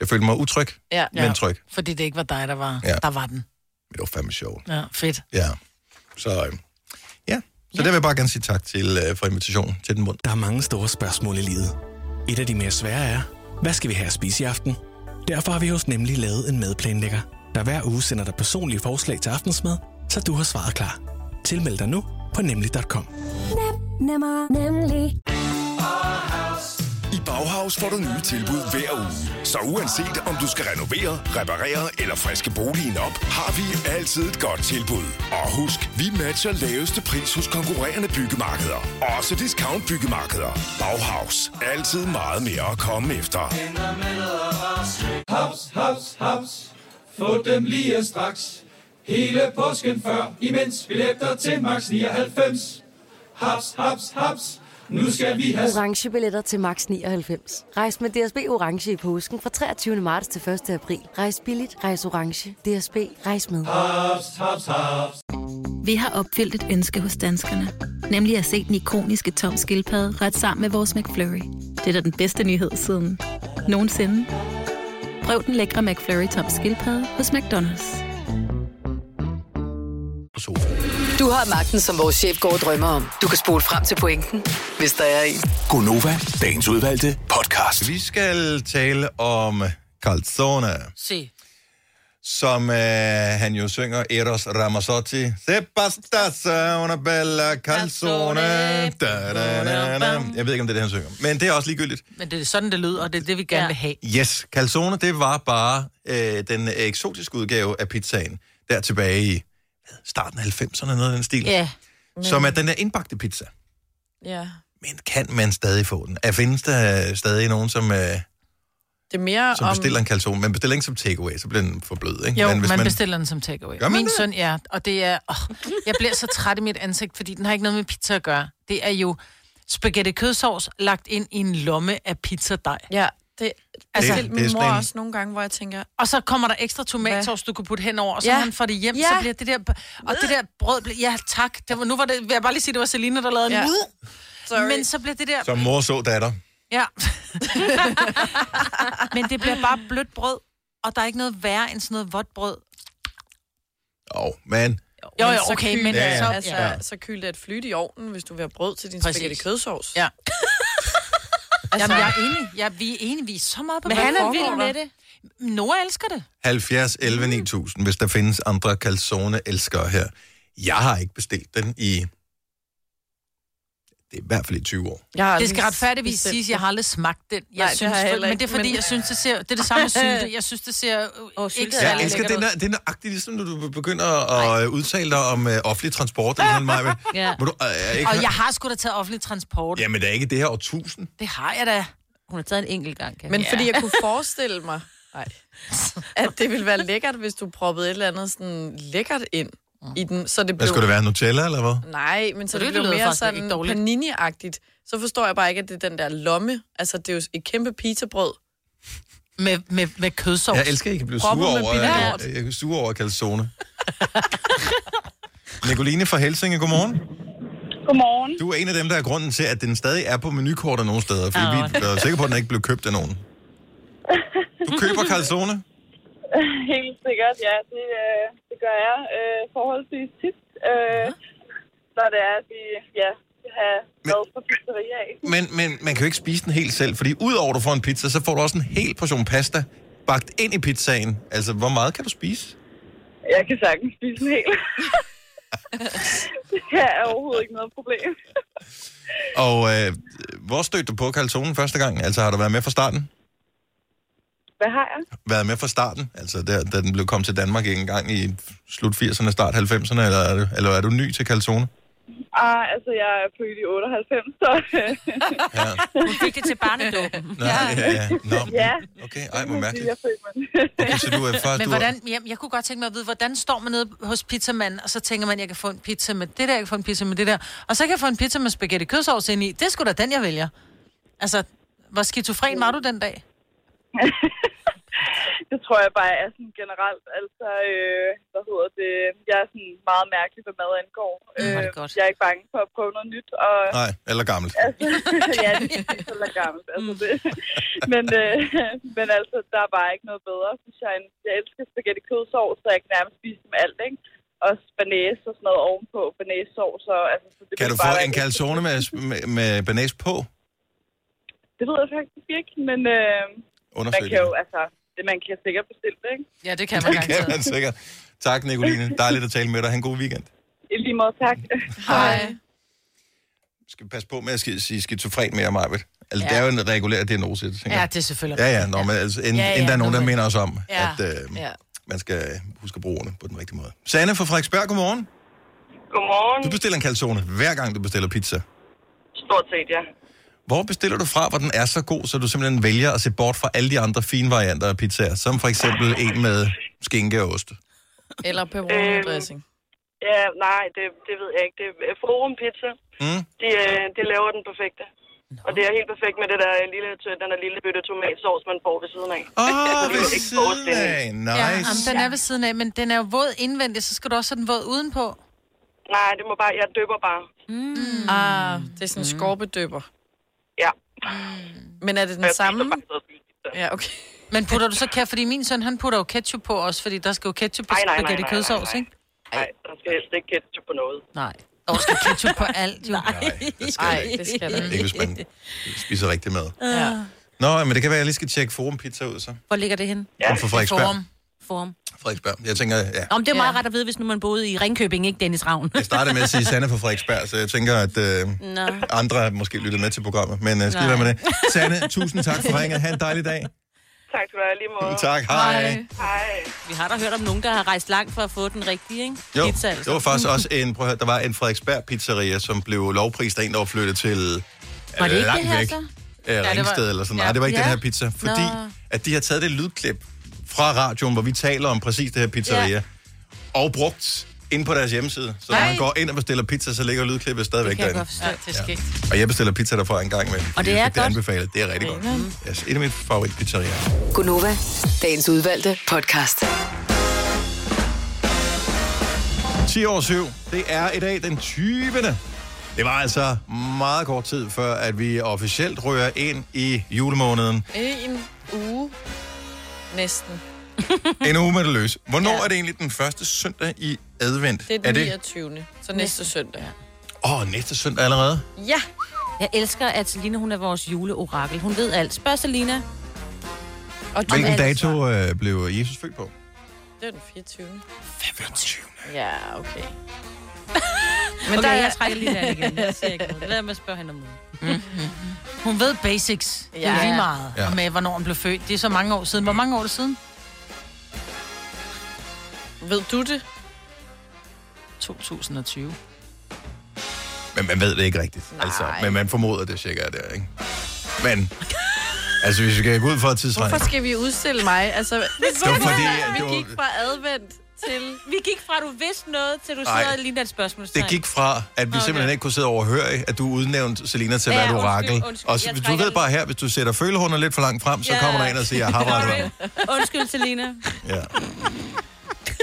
Speaker 1: jeg følte mig utryg,
Speaker 4: Ja.
Speaker 1: ja. men tryg.
Speaker 2: Fordi det ikke var dig, der var,
Speaker 1: Ja.
Speaker 2: ja. der var den.
Speaker 1: Det var fandme sjovt.
Speaker 2: Ja, fedt.
Speaker 1: Ja. Så øh, ja. Så der vil jeg bare gerne sige tak til, øh, for invitationen til den mund.
Speaker 8: Der er mange store spørgsmål i livet. Et af de mere svære er, hvad skal vi have at spise i aften? Derfor har vi hos Nemlig lavet en madplanlægger, der hver uge sender dig personlige forslag til aftensmad, så du har svaret klar. Tilmeld dig nu på nemlig.com.
Speaker 9: Nemmer, nemlig.
Speaker 7: I Bauhaus får du nye tilbud hver uge. Så uanset om du skal renovere, reparere eller friske boligen op, har vi altid et godt tilbud. Og husk, vi matcher laveste pris hos konkurrerende byggemarkeder. Også discount byggemarkeder. Bauhaus. Altid meget mere at komme efter.
Speaker 10: Haps, haps, haps. Få dem lige straks. Hele påsken før, imens billetter til max 99. Haps, haps, haps. Nu skal vi have
Speaker 9: Orange billetter til max 99. Rejs med DSB Orange i påsken fra 23. marts til 1. april. Rejs billigt, rejs orange. DSB, rejs med.
Speaker 10: haps, haps, haps.
Speaker 11: Vi har opfyldt et ønske hos danskerne. Nemlig at se den ikoniske tom skildpadde ret sammen med vores McFlurry. Det er da den bedste nyhed siden nogensinde. Prøv den lækre McFlurry tom skildpadde hos McDonald's.
Speaker 1: På sofaen.
Speaker 6: Du har magten, som vores chef går og drømmer om. Du kan spole frem til pointen, hvis der er en.
Speaker 7: Gonova. Dagens udvalgte podcast.
Speaker 1: Vi skal tale om calzone.
Speaker 2: Se.
Speaker 1: som øh, han jo synger, Eros Ramazzotti. Se basta se una bella calzone. Da, da, da, da. Jeg ved ikke, om det er det, han synger. Men det er også ligegyldigt.
Speaker 2: Men det er sådan, det lyder, og det er det, vi gerne ja. vil have.
Speaker 1: Yes, calzone, det var bare øh, den eksotiske udgave af pizzaen. Der tilbage i hvad, starten af 90'erne, noget af den stil.
Speaker 2: Ja.
Speaker 1: Som er den der indbagte pizza.
Speaker 4: Ja.
Speaker 1: Men kan man stadig få den? Er, findes der øh, stadig nogen, som, øh,
Speaker 4: Det er mere
Speaker 1: som
Speaker 4: om...
Speaker 1: bestiller en calzone? Man bestiller ikke som takeaway, så bliver den for blød, ikke?
Speaker 2: Jo,
Speaker 1: Men
Speaker 2: men
Speaker 1: hvis
Speaker 2: man,
Speaker 1: man-
Speaker 2: man bestiller den som takeaway.
Speaker 1: Gør man
Speaker 2: Min
Speaker 1: det?
Speaker 2: søn er, og det er... Åh, jeg bliver så træt i mit ansigt, fordi den har ikke noget med pizza at gøre. Det er jo spaghetti kødsovs lagt ind i en lomme af pizzadej.
Speaker 4: Ja, Det,
Speaker 2: Altså,
Speaker 4: altså,
Speaker 2: det
Speaker 4: det,
Speaker 2: er
Speaker 4: min mor
Speaker 2: sådan en-
Speaker 4: også nogle gange, hvor jeg tænker,
Speaker 2: Og så kommer der ekstra tomatsovs, du kan putte hen over, og så ja.
Speaker 4: Ja.
Speaker 2: han får det hjem, ja.
Speaker 4: Ja.
Speaker 2: så bliver det der... Og det der brød blev... Ja, tak. Det var, nu var det... Vil jeg bare lige sige, det var Selina, der lavede ja.
Speaker 4: Ja.
Speaker 2: en... Sorry. Men så blev det der...
Speaker 1: Som mor så datter.
Speaker 2: Ja. *laughs* Men det bliver bare blødt brød, og der er ikke noget værre end sådan noget vådt brød.
Speaker 1: Åh, oh, men...
Speaker 2: Jo,
Speaker 4: Men
Speaker 2: jo,
Speaker 4: så
Speaker 2: okay,
Speaker 4: kyl
Speaker 2: men
Speaker 4: det,
Speaker 1: Ja,
Speaker 4: så,
Speaker 1: ja,
Speaker 4: altså,
Speaker 1: ja.
Speaker 4: så kyl det et flyt i ovnen, hvis du vil have brød til din
Speaker 2: Præcis.
Speaker 4: spaghetti kødsovs.
Speaker 2: Ja.
Speaker 4: altså,
Speaker 2: Jamen, jeg er enig. Ja, vi er enige. Vi er så meget på
Speaker 3: Men
Speaker 2: hvad
Speaker 3: han er
Speaker 2: foregår
Speaker 3: vild med
Speaker 2: der. Nora elsker det.
Speaker 1: 70, 11, 9000, hvis der findes andre calzone-elskere her. Jeg har ikke bestilt den i... Det er i hvert fald i 20 år.
Speaker 4: Jeg har
Speaker 2: Det skal
Speaker 4: aldrig
Speaker 2: retfærdigvis
Speaker 4: bestemt
Speaker 2: siges,
Speaker 4: det.
Speaker 2: jeg har aldrig smagt den. Jeg
Speaker 4: Nej, det
Speaker 2: synes,
Speaker 4: har jeg
Speaker 2: det
Speaker 4: heller
Speaker 2: men det er
Speaker 4: ikke,
Speaker 2: fordi, men...
Speaker 4: men-
Speaker 2: jeg synes, det ser... Det er det samme med sylte. Jeg synes, det ser oh,
Speaker 3: sylte *laughs*
Speaker 2: ikke
Speaker 3: er
Speaker 1: Jeg
Speaker 2: særlig
Speaker 1: elsker
Speaker 2: lækkert
Speaker 1: den
Speaker 2: ud.
Speaker 1: der, det er nøjagtigt, ligesom når du begynder at øh, udtale dig om øh, offentlig transport. Eller sådan, Maja.
Speaker 3: Ja.
Speaker 1: Må du, øh, er ikke,
Speaker 2: Og jeg har sgu da taget offentlig transport.
Speaker 1: Jamen, der er ikke det her årtusind.
Speaker 2: Det har jeg da.
Speaker 3: Hun har taget en enkelt gang, kan
Speaker 4: Men fordi jeg kunne forestille mig, nej, at det ville være lækkert, hvis du proppede et eller andet sådan lækkert ind i den, så det
Speaker 1: Hvad
Speaker 4: blev...
Speaker 1: skulle det være? Nutella, eller hvad?
Speaker 4: Nej, men så
Speaker 2: Mm. Det
Speaker 4: det, det
Speaker 2: lyder
Speaker 4: blev mere
Speaker 2: faktisk ikke
Speaker 4: sådan
Speaker 2: dårligt.
Speaker 4: panini-agtigt. Så forstår jeg bare ikke, at det er den der lomme. Altså, det er jo et kæmpe pizzabrød.
Speaker 2: Med, med, med kødsovs.
Speaker 1: Jeg elsker ikke at blive
Speaker 4: Proppen
Speaker 1: sur
Speaker 4: med
Speaker 1: over,
Speaker 4: billedkort.
Speaker 1: jeg, jeg er sur over calzone. *laughs* Nicoline fra Helsinge, godmorgen.
Speaker 12: Godmorgen.
Speaker 1: Du er en af dem, der er grunden til, at den stadig er på menukortet nogle steder, fordi
Speaker 3: Åh.
Speaker 1: vi er sikre på, at den ikke blev købt af nogen. Du køber calzone?
Speaker 12: *laughs* Helt sikkert, ja. Det, øh, det gør jeg øh, forholdsvis tit, øh, når det er, at vi ja, skal have mad fra pizzeria af.
Speaker 1: Men, men man kan jo ikke spise den helt selv, fordi udover at du får en pizza, så får du også en hel portion pasta bagt ind i pizzaen. Altså, hvor meget kan du spise?
Speaker 12: Jeg kan sagtens spise en
Speaker 1: *laughs*
Speaker 12: hel. det er overhovedet ikke noget problem.
Speaker 1: Og øh, hvor stødte du på calzone første gang? Altså, har du været med fra starten?
Speaker 12: Hvad har jeg?
Speaker 1: Været med fra starten? Altså, der, da den blev kommet til Danmark ikke engang i slut 80'erne, start 90'erne, eller er, du, eller er du ny til calzone?
Speaker 12: Ah, altså, jeg er født i 98,
Speaker 3: *laughs*
Speaker 12: så øh,
Speaker 3: Hun fik det til barnedåben.
Speaker 1: Nå, ja. ja, ja. Nå,
Speaker 12: ja.
Speaker 1: okay, ej, hvor
Speaker 12: man sige,
Speaker 1: mærkeligt.
Speaker 12: jeg er født med den.
Speaker 1: Okay, så du er først...
Speaker 2: Men
Speaker 1: du er-
Speaker 2: hvordan, jamen, jeg kunne godt tænke mig at vide, hvordan står man nede hos pizzamanden, og så tænker man, jeg kan få en pizza med det der, jeg kan få en pizza med det der, og så kan jeg få en pizza med spaghetti kødsovs ind i. Det er sgu da den, jeg vælger. Altså, hvor skizofren var du den dag?
Speaker 12: det tror jeg bare er sådan generelt. Altså, øh, hvad hedder det? Jeg er sådan meget mærkelig, hvad mad angår.
Speaker 3: Mm, hvor er
Speaker 12: Øh,
Speaker 3: det godt.
Speaker 12: jeg er ikke bange for at prøve noget nyt, og
Speaker 1: Nej, eller gammelt.
Speaker 12: *laughs* altså, ja, det er lige så lidt gammelt.
Speaker 3: Mm.
Speaker 12: Altså, det. Men, øh, *laughs* men altså, der er bare ikke noget bedre, synes jeg. end- Jeg elsker spaghetti kødsovs, så jeg kan nærmest spise dem alt, ikke? Og banæs og sådan noget ovenpå, banæssovs. Og, altså, så det
Speaker 1: Kan
Speaker 12: vil
Speaker 1: du
Speaker 12: bare
Speaker 1: få
Speaker 12: være
Speaker 1: en
Speaker 12: helt-
Speaker 1: calzone med, med, med banæs på?
Speaker 12: Det ved jeg faktisk ikke, men øh, man
Speaker 1: Undersøg
Speaker 12: kan jo,
Speaker 1: det.
Speaker 12: altså, det, man kan sikkert bestille det, ikke?
Speaker 2: Ja, det kan man
Speaker 1: Det kan man sikkert. Tak, Nicoline. Dejligt at tale med dig. Ha' en god weekend.
Speaker 12: I lige måde, tak.
Speaker 4: Hej.
Speaker 1: Skal vi passe på med at sk- sige skizofren mere, Marvitt? Altså, ja. det er jo en regulær diagnose, det tænker
Speaker 2: Ja,
Speaker 1: jeg.
Speaker 2: det er selvfølgelig.
Speaker 1: Ja, ja, nå, men altså, end, ja,
Speaker 2: Ja,
Speaker 1: ja,
Speaker 2: ja,
Speaker 1: endda nogen,
Speaker 2: nå,
Speaker 1: der
Speaker 2: men-
Speaker 1: minder os om,
Speaker 2: Ja.
Speaker 1: at øh,
Speaker 4: Ja.
Speaker 1: man skal huske at bruge ordene på den rigtige måde. Sanne fra Frederiksberg, godmorgen.
Speaker 12: Godmorgen.
Speaker 1: Du bestiller en calzone, hver gang du bestiller pizza.
Speaker 12: Stort set, ja.
Speaker 1: Hvor bestiller du fra, hvor den er så god, så du simpelthen vælger at se bort fra alle de andre fine varianter af pizzaer, som for eksempel en med skinke og ost?
Speaker 4: Eller pepperoni dressing.
Speaker 12: Ja, nej, det, det ved jeg ikke. Det er Forum Pizza.
Speaker 1: Mm.
Speaker 12: De, øh, de laver den perfekte. Og det er helt perfekt med det der lille, tø- den der lille bøtte tomatsovs, man får ved siden af.
Speaker 1: Åh,
Speaker 12: Det er
Speaker 1: ved
Speaker 12: ikke
Speaker 1: siden
Speaker 12: vores
Speaker 1: af. Nice.
Speaker 2: Ja, jamen, den er ved siden af, men den er jo våd indvendigt, så skal du også have den våd udenpå.
Speaker 12: Nej, det må bare, jeg døber bare.
Speaker 2: Mm.
Speaker 4: Ah, det er sådan en skorpedøber. Mm.
Speaker 12: Mm. Ja.
Speaker 4: Men er det
Speaker 12: Jeg
Speaker 4: den samme?
Speaker 12: spiser bare sådan noget pizza.
Speaker 4: Ja, okay.
Speaker 2: Men putter du så kæft, fordi min søn, han putter jo ketchup på også, fordi der skal jo ketchup på
Speaker 12: Nej, nej, nej,
Speaker 2: spaghetti
Speaker 12: nej, nej,
Speaker 2: kødsovs,
Speaker 12: nej.
Speaker 2: ikke?
Speaker 12: Nej, der skal helst ikke ketchup på noget.
Speaker 3: Nej.
Speaker 2: Og der skal ketchup på alt, jo.
Speaker 1: Nej, det skal
Speaker 4: Nej,
Speaker 1: jeg ikke.
Speaker 4: det skal der ikke.
Speaker 1: Ikke hvis man spiser rigtig mad.
Speaker 4: Ja.
Speaker 1: Nå, men det kan være, at jeg lige skal tjekke Forum Pizza ud, så.
Speaker 3: Hvor ligger det henne?
Speaker 1: Ja, for Frederiksberg.
Speaker 2: Forum.
Speaker 3: Form.
Speaker 1: Frederiksberg. Jeg tænker, ja.
Speaker 3: Om det er meget
Speaker 4: Ja.
Speaker 3: ret at vide, hvis nu man boede i Ringkøbing, ikke Dennis Ravn.
Speaker 1: Jeg startede med at sige Sanne fra Frederiksberg, så jeg tænker, at øh,
Speaker 12: *laughs*
Speaker 3: Nå.
Speaker 1: andre måske lyttede med til programmet. Men øh, skal
Speaker 3: Mm. Nej.
Speaker 1: være med det. Sanne, tusind tak for ringet. Ha' en dejlig dag.
Speaker 12: Tak skal du have, lige måde.
Speaker 1: *laughs* Tak, hej.
Speaker 12: Hej.
Speaker 3: Vi har da hørt om nogen, der har rejst langt for at få den rigtige, ikke?
Speaker 1: Jo,
Speaker 3: Pizza, altså.
Speaker 1: det var faktisk
Speaker 3: *laughs*
Speaker 1: også en, prøv at høre, der var en Frederiksberg pizzeria, som blev lovprist af en, der var flyttet til
Speaker 3: Var det ikke
Speaker 1: langt
Speaker 3: det her,
Speaker 1: væk.
Speaker 3: så?
Speaker 1: Øh,
Speaker 2: var-
Speaker 1: Ringsted eller sådan noget.
Speaker 2: ja.
Speaker 1: Nej, det var ikke
Speaker 3: Ja.
Speaker 1: den her pizza, fordi
Speaker 3: Nå.
Speaker 1: at de har taget det lydklip fra radioen, hvor vi taler om præcis det her pizzeria,
Speaker 3: Ja.
Speaker 1: og brugt inde på deres hjemmeside. Så når
Speaker 3: Nej.
Speaker 1: man går ind og bestiller pizza, så ligger lydklippet stadigvæk
Speaker 3: Det kan jeg
Speaker 1: derinde.
Speaker 3: godt forstå. Ja, det er skægt.
Speaker 1: Og jeg bestiller pizza derfra en gang med.
Speaker 6: Og det er
Speaker 1: det
Speaker 6: godt.
Speaker 1: anbefalet. Det er rigtig godt. Altså, et af mine favoritpizzerier.
Speaker 6: Gunova, dagens udvalgte podcast.
Speaker 1: 10 år 7. Det er i dag den 20. Det var altså meget kort tid før, at vi officielt rører ind i julemåneden.
Speaker 4: En uge. Næsten.
Speaker 1: En uge med det løs. Hvornår ja. er det egentlig den første søndag i advent?
Speaker 4: Det er den 29. Så næste søndag.
Speaker 1: Åh, oh, næste søndag allerede?
Speaker 4: Ja.
Speaker 3: Mm. Jeg elsker, at Selina, hun er vores juleorakel. Hun ved alt. Spørg Selina.
Speaker 4: Og
Speaker 1: Hvilken
Speaker 3: altså-
Speaker 1: dato øh, blev Jesus født på?
Speaker 4: Det er den 24.
Speaker 1: 25.
Speaker 4: Ja,
Speaker 2: *laughs*
Speaker 4: okay.
Speaker 3: Men okay,
Speaker 2: der
Speaker 3: der,
Speaker 2: er- Mm.
Speaker 3: jeg trækker lige den igen. Jeg siger ikke noget. Lad mig spørge hende om noget.
Speaker 2: Hun ved basics. Ja. Det er
Speaker 3: Ja.
Speaker 2: lige meget
Speaker 3: Ja.
Speaker 2: ja. med, hvornår hun blev født. Det er så mange år siden. Hvor mange år er det siden?
Speaker 4: Ved du det?
Speaker 2: 2020.
Speaker 1: Men man ved det ikke rigtigt. Altså, men man formoder det sikkert, der, ikke?
Speaker 3: *laughs*
Speaker 1: Men, altså hvis vi kan gå ud for et tidsregning.
Speaker 4: Hvorfor skal vi udstille mig? Altså,
Speaker 1: Det var fordi, at det
Speaker 4: vi
Speaker 1: var-
Speaker 4: gik fra advent til...
Speaker 3: Vi gik fra, at du vidste noget, til du
Speaker 1: Ej.
Speaker 3: sidder og ligner et spørgsmål.
Speaker 1: Det gik fra, at vi okay.
Speaker 3: Okay.
Speaker 1: simpelthen ikke kunne sidde og overhøre, at du udnævnte Selina til at
Speaker 3: Ja,
Speaker 1: være et
Speaker 3: undskyld,
Speaker 1: orakel.
Speaker 3: undskyld.
Speaker 1: Og
Speaker 3: Jeg
Speaker 1: så, du
Speaker 3: trækker
Speaker 1: ved
Speaker 3: den.
Speaker 1: bare her, hvis du sætter følehornet lidt for langt frem, så kommer der en og siger, har
Speaker 3: *laughs* Undskyld, Selina.
Speaker 1: Ja.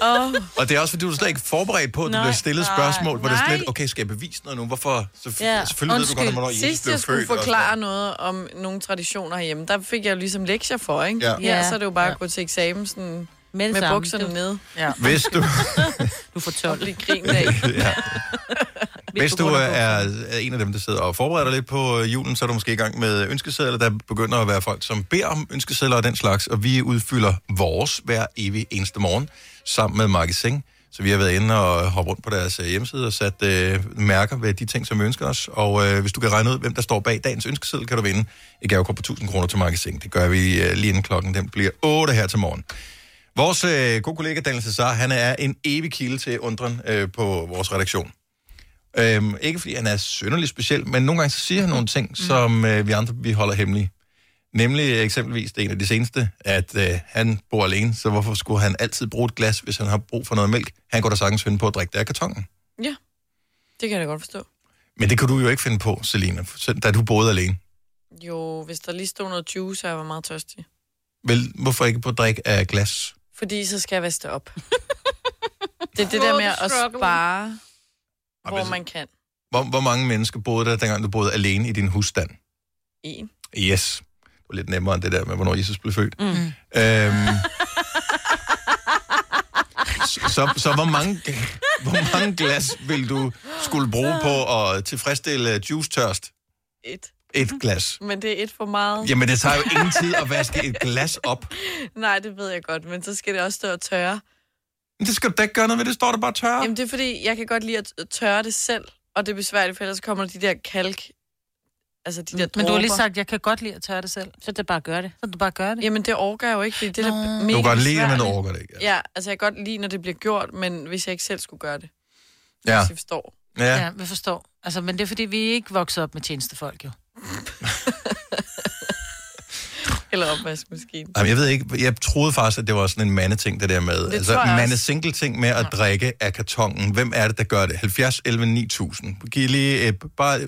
Speaker 4: Oh.
Speaker 1: Og det er også, fordi du er slet ikke forberedt på, at du
Speaker 3: Nej,
Speaker 1: bliver stillet
Speaker 3: nej,
Speaker 1: spørgsmål, hvor det er
Speaker 4: nej.
Speaker 1: slet, okay, skal jeg bevise noget nu? Hvorfor? Så, ja. Altså, Selvfølgelig ved du godt, hvornår Jesus
Speaker 4: Sidst
Speaker 1: blev
Speaker 4: jeg skulle
Speaker 1: født. og-
Speaker 4: forklare noget om nogle traditioner herhjemme, der fik jeg jo ligesom lektier for, ikke?
Speaker 1: Ja.
Speaker 4: ja
Speaker 1: Ja.
Speaker 4: så er det jo bare at gå til eksamen sådan, med, med
Speaker 3: samme.
Speaker 4: bukserne
Speaker 3: Det-
Speaker 4: nede.
Speaker 2: Ja.
Speaker 1: *laughs* Hvis du...
Speaker 3: *laughs* du får 12.
Speaker 4: Det griner
Speaker 1: *laughs*
Speaker 4: af.
Speaker 1: ja. Hvis du øh, er er en af dem, der sidder og forbereder dig lidt på øh, julen, så er du måske i gang med ønskesedler. Der begynder at være folk, som beder om ønskesedler og den slags, og vi udfylder vores hver evig eneste morgen sammen med Marketing. Så vi har været inde og hoppe rundt på deres øh, hjemmeside og sat øh, mærker ved de ting, som vi ønsker os. Og øh, hvis du kan regne ud, hvem der står bag dagens ønskeseddel, kan du vinde et gavekort på 1000 kroner til Marketing. Det gør vi øh, lige inden klokken. Den bliver 8 her til morgen. Vores øh, gode kollega Daniel Cesar, han er en evig kilde til undren øh, på vores redaktion. Øhm, ikke fordi han er synderligt speciel, men nogle gange så siger han nogle ting, mm. som øh, vi andre vi holder hemmelige. Nemlig øh, eksempelvis det er en af de seneste, at øh, han bor alene, så hvorfor skulle han altid bruge et glas, hvis han har brug for noget mælk? Han går da sagtens finde på at drikke det af kartongen.
Speaker 4: Ja, det kan jeg da godt forstå.
Speaker 1: Men det kunne du jo ikke finde på, Selina, så- da du boede alene.
Speaker 4: Jo, hvis der lige stod noget juice, så jeg var meget tørstig.
Speaker 1: Vel, hvorfor ikke på at drikke af glas?
Speaker 4: Fordi så skal jeg vaske *laughs* op. det er det der med at
Speaker 3: Struggle.
Speaker 4: spare, hvor
Speaker 1: hvis-
Speaker 4: man kan.
Speaker 1: Hvor, hvor mange mennesker boede der, dengang du boede alene i din husstand?
Speaker 4: En.
Speaker 1: Yes. Det var lidt nemmere end det der med, hvornår Jesus blev født.
Speaker 4: Mm.
Speaker 1: Øhm, så, så, så hvor, mange, hvor mange glas vil du skulle bruge på at tilfredsstille juice-tørst?
Speaker 4: *laughs* Et.
Speaker 1: Et glas.
Speaker 4: Men det er et for meget.
Speaker 1: Jamen, det tager jo ingen tid at vaske et glas op.
Speaker 4: *laughs* Nej, det ved jeg godt, men så skal det også stå og tørre.
Speaker 1: Men det skal du da ikke gøre noget ved, det står der bare tørre.
Speaker 4: Jamen, det er fordi, jeg kan godt lide at tørre det selv, og det er besværligt, for ellers kommer de der kalk... Altså de der
Speaker 2: Men du har lige
Speaker 4: dråber.
Speaker 2: sagt, at jeg kan godt lide at tørre det selv.
Speaker 3: Så det bare gør det.
Speaker 2: Så det bare gør det.
Speaker 4: Jamen, det orker jeg jo ikke, fordi det er da mega
Speaker 1: Du kan godt lide det, men du
Speaker 4: besværligt.
Speaker 1: overgår det ikke.
Speaker 4: Ja, altså jeg kan godt lide, når det bliver gjort, men hvis jeg ikke selv skulle gøre det.
Speaker 1: Ja.
Speaker 4: Hvis jeg forstår.
Speaker 1: Ja.
Speaker 2: ja vi forstår. Altså, men det er fordi, vi er ikke voksede op med
Speaker 3: *laughs*
Speaker 2: tjenestefolk, jo.
Speaker 4: Eller opvaskemaskinen.
Speaker 1: Jamen, jeg ved ikke, jeg troede faktisk, at det var sådan en mandeting, det der med. Det altså,
Speaker 4: tror jeg også.
Speaker 1: mandesingle-ting med at drikke af kartongen. Hvem er det, der gør det? 70, 11, 9000. Giv lige, øh, bare,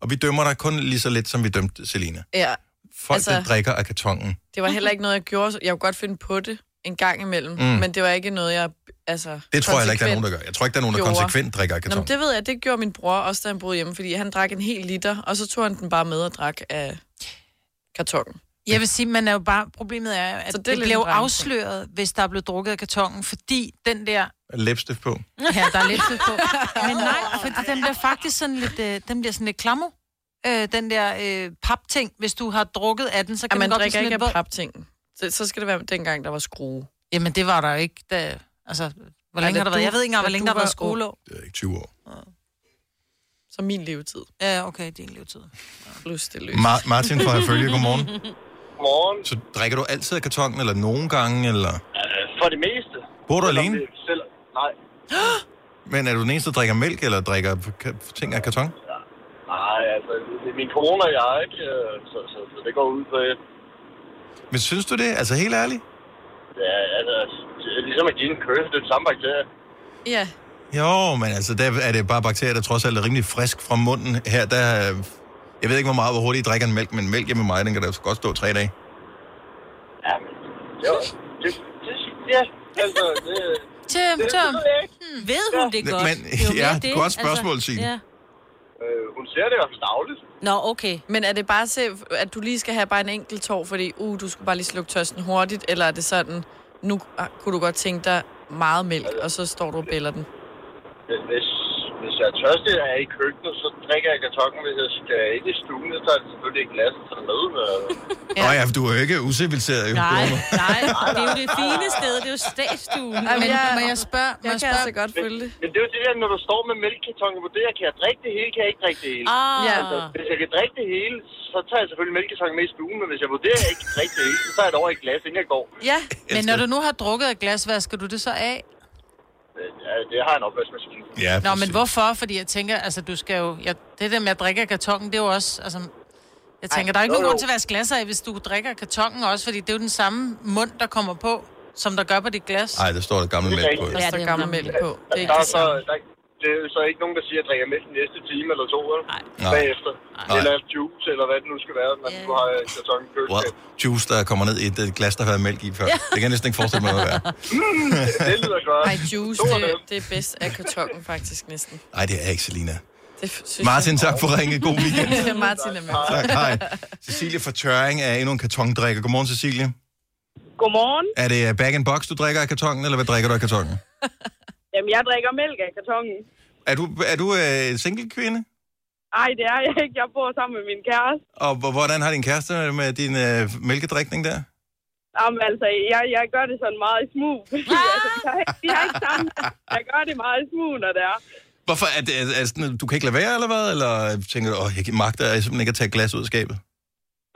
Speaker 1: og vi dømmer dig kun lige så lidt, som vi dømte Selina.
Speaker 4: Ja,
Speaker 1: Folk, altså...
Speaker 4: Altså-
Speaker 1: der drikker af kartongen.
Speaker 4: det var heller ikke noget, jeg gjorde. så- Jeg kunne godt finde på det en gang imellem,
Speaker 1: Mm.
Speaker 4: mm. men det var ikke noget, jeg... Altså,
Speaker 1: Det tror jeg heller ikke, der er
Speaker 4: konsekvent
Speaker 1: nogen, der gør. Jeg tror ikke, der er nogen, der
Speaker 4: gjorde.
Speaker 1: konsekvent drikker af
Speaker 4: Nå, men
Speaker 1: kartongen.
Speaker 4: det ved jeg, det gjorde min bror også, da han boede hjemme, fordi han drak en hel liter, og så tog han den bare med og drak af kartongen.
Speaker 2: Jeg vil sige, man er jo bare... Problemet er, at
Speaker 4: Så
Speaker 2: det,
Speaker 4: det er
Speaker 2: det
Speaker 4: lidt
Speaker 2: blev
Speaker 4: en branche.
Speaker 2: afsløret, hvis der blev drukket af kartongen, fordi den der...
Speaker 1: Læbstift på.
Speaker 2: Ja, der er lidt fedt
Speaker 4: *laughs*
Speaker 2: på. Men nej, fordi den bliver faktisk sådan lidt... Øh, den bliver sådan lidt klammer. Øh, den der øh, papting, hvis du har drukket af den, så
Speaker 4: Ja,
Speaker 2: kan
Speaker 4: man
Speaker 2: den godt blive
Speaker 4: drikker
Speaker 2: sådan
Speaker 4: ikke
Speaker 2: lidt
Speaker 4: af
Speaker 2: våd.
Speaker 4: paptingen. Så, så skal det være dengang, der var skrue.
Speaker 2: Jamen, det var der jo ikke, da... Altså, hvor længe
Speaker 4: da
Speaker 2: har der været?
Speaker 4: du-
Speaker 2: Jeg ved ikke engang,
Speaker 4: da
Speaker 2: hvor længe
Speaker 4: du
Speaker 2: der har været
Speaker 4: var ung.
Speaker 2: skolelov.
Speaker 1: Det er ikke 20 år.
Speaker 4: Så min levetid.
Speaker 2: Ja, okay, din levetid.
Speaker 4: Plus det løs.
Speaker 1: Ma- Martin fra Herfølge,
Speaker 2: *laughs*
Speaker 1: godmorgen.
Speaker 13: Morgen.
Speaker 1: Så drikker du altid af kartongen, eller nogle gange, eller...
Speaker 13: Øh, For det meste.
Speaker 1: Bor du
Speaker 13: Selvom
Speaker 1: alene?
Speaker 13: det- Selv, nej.
Speaker 1: Men er du den eneste, der drikker mælk, eller drikker ka- ting af karton?
Speaker 13: Nej, altså, det er min kone og jeg, ikke? Øh, Så, så, så det går ud på et.
Speaker 1: Men synes du det? Altså, helt ærligt?
Speaker 13: Ja, altså, det er ligesom at give en køs, det er den samme bakterie.
Speaker 4: Ja,
Speaker 1: Jo, men altså, der er det bare bakterier, der trods alt er rimelig frisk fra munden. Her, der, øh, jeg ved ikke, hvor meget, hvor hurtigt I drikker en mælk, men mælk hjemme med mig, den kan da godt stå tre dage.
Speaker 13: Jo, det, det, ja, altså, det,
Speaker 2: Tøm,
Speaker 13: det
Speaker 2: tøm.
Speaker 13: ved jeg ikke.
Speaker 2: Hmm. Ved hun det
Speaker 1: Men-
Speaker 2: godt?
Speaker 1: *laughs* men-
Speaker 2: Det er jo
Speaker 1: ja,
Speaker 2: mere det. altså,
Speaker 1: godt spørgsmål, Signe.
Speaker 2: ja.
Speaker 13: Øh, hun ser det i hvert fald dagligt.
Speaker 3: Nå, okay.
Speaker 4: Men er det bare til, at du lige skal have bare en enkelt tår, fordi uh, du skulle bare lige slukke tørsten hurtigt, eller er det sådan, nu ah, kunne du godt tænke dig meget mælk, og så står du og bæller den?
Speaker 13: Hvis, hvis jeg er tørstig og er i køkkenet, så drikker jeg kartongen. Hvis jeg skal ind i stuen, så er det selvfølgelig et glas, så med. øh.
Speaker 1: Ja. Nå ja, for du er jo ikke usiviliseret. jo.
Speaker 3: Nej, nej, det er jo det fine sted, det er jo statsstuen.
Speaker 2: Ej, men jeg- Må jeg spørge- må jeg jeg kan spørge- altså
Speaker 4: godt følge det.
Speaker 13: Men det er jo det der, når du står med mælkekartongen på det her, kan jeg drikke det hele, kan jeg ikke drikke det hele.
Speaker 3: Ah. Ja.
Speaker 13: Altså, hvis jeg kan drikke det hele, så tager jeg selvfølgelig mælkekartongen med i stuen, men hvis jeg vurderer, at jeg ikke kan drikke det hele, så tager jeg det over i et glas, inden jeg går.
Speaker 4: *laughs*
Speaker 2: Ja, men når du nu har drukket et glas, vasker du det så af?
Speaker 13: Øh, ja, det har jeg en opvaskemaskine.
Speaker 1: Ja,
Speaker 2: Nå, men hvorfor? Fordi jeg tænker, altså du skal jo... Jeg, det der med at drikke af kartongen, det er jo også... Altså, jeg tænker,
Speaker 13: Ej,
Speaker 2: der er ikke
Speaker 13: jo,
Speaker 2: nogen grund
Speaker 13: jo.
Speaker 2: til at vaske glas af, hvis du drikker af kartongen også, fordi det er jo den samme mund, der kommer på, som der gør på dit glas.
Speaker 1: Nej, der står der gammel mælk på.
Speaker 2: Der står gammel mælk på. Det er
Speaker 13: Det
Speaker 2: ikke
Speaker 13: der, er
Speaker 2: det
Speaker 13: så,
Speaker 2: samme.
Speaker 13: der, er- det er jo så ikke nogen, der siger, at jeg drikker mælk den næste time eller to, eller
Speaker 1: Nej.
Speaker 13: bagefter. Eller juice, eller hvad det nu skal være, når du har en karton i
Speaker 1: Wow.
Speaker 13: køleskabet.
Speaker 1: Juice, der kommer ned i et øh, glas, der har været mælk i før.
Speaker 13: Ja.
Speaker 1: Det kan jeg næsten ikke forestille mig, hvad det
Speaker 12: *laughs*
Speaker 1: er.
Speaker 13: Mm, det, det lyder godt.
Speaker 4: Ej, juice, det, det er bedst af kartongen faktisk næsten.
Speaker 1: Nej, det er ikke, Selina.
Speaker 4: Det f- synes
Speaker 1: Martin,
Speaker 4: jeg.
Speaker 1: tak for at ringe. God weekend.
Speaker 4: *laughs* Martin er med.
Speaker 1: Tak, hej. *laughs* Cecilie fra Tøring er endnu en kartongdrikker. Godmorgen, Cecilie.
Speaker 12: Godmorgen.
Speaker 1: Er det øh, bag in box, du drikker af kartongen, eller hvad drikker du af kartongen?
Speaker 12: Jamen, jeg drikker mælk af kartongen.
Speaker 1: Er du, er du øh, single kvinde?
Speaker 12: Ej, det er jeg ikke. Jeg bor sammen med min kæreste.
Speaker 1: Og h- hvordan har din kæreste det med din øh, mælkedrikning der?
Speaker 12: Jamen, altså, jeg, jeg gør det sådan meget i smug. altså, vi, har, ikke- vi har ikke sammen. Jeg gør det meget i smug, når det er.
Speaker 1: Hvorfor? Er det, er, er det sådan, at du kan ikke lade være, eller hvad? Eller tænker du, åh, jeg magter jeg simpelthen ikke at tage et glas ud af skabet?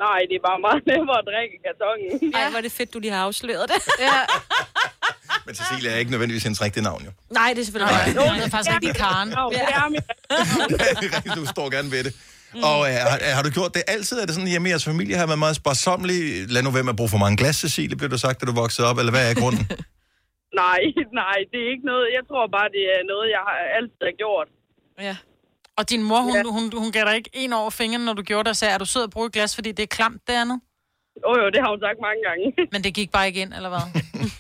Speaker 12: Nej, det er bare meget *laughs* nemmere at drikke af kartongen.
Speaker 3: Ej, hvor er det fedt, du lige har afsløret det.
Speaker 12: ja.
Speaker 1: Men Cecilie er ikke nødvendigvis hendes rigtige navn, jo. *laughs*
Speaker 3: Nej, det er selvfølgelig ikke.
Speaker 2: Nej, det er faktisk rigtig Karen.
Speaker 1: du står gerne ved det. Og øh, har, har, du gjort det altid? Er det sådan, at hjemme i jeres familie har været meget sparsomlig? Lad nu være med at bruge for mange glas, Cecilie, blev du sagt, da du voksede op, eller hvad er grunden?
Speaker 12: *laughs* Nej, nej, det er ikke noget. Jeg tror bare, det er noget, jeg har altid har gjort.
Speaker 4: Ja.
Speaker 2: Og din mor, hun, hun, hun gav dig ikke en over fingeren, når du gjorde det, og sagde, er du sød at bruge et glas, fordi det er klamt det andet?
Speaker 12: Åh oh, jo, det har hun sagt mange gange.
Speaker 2: *laughs* Men det gik bare ikke ind, eller hvad?
Speaker 12: *laughs*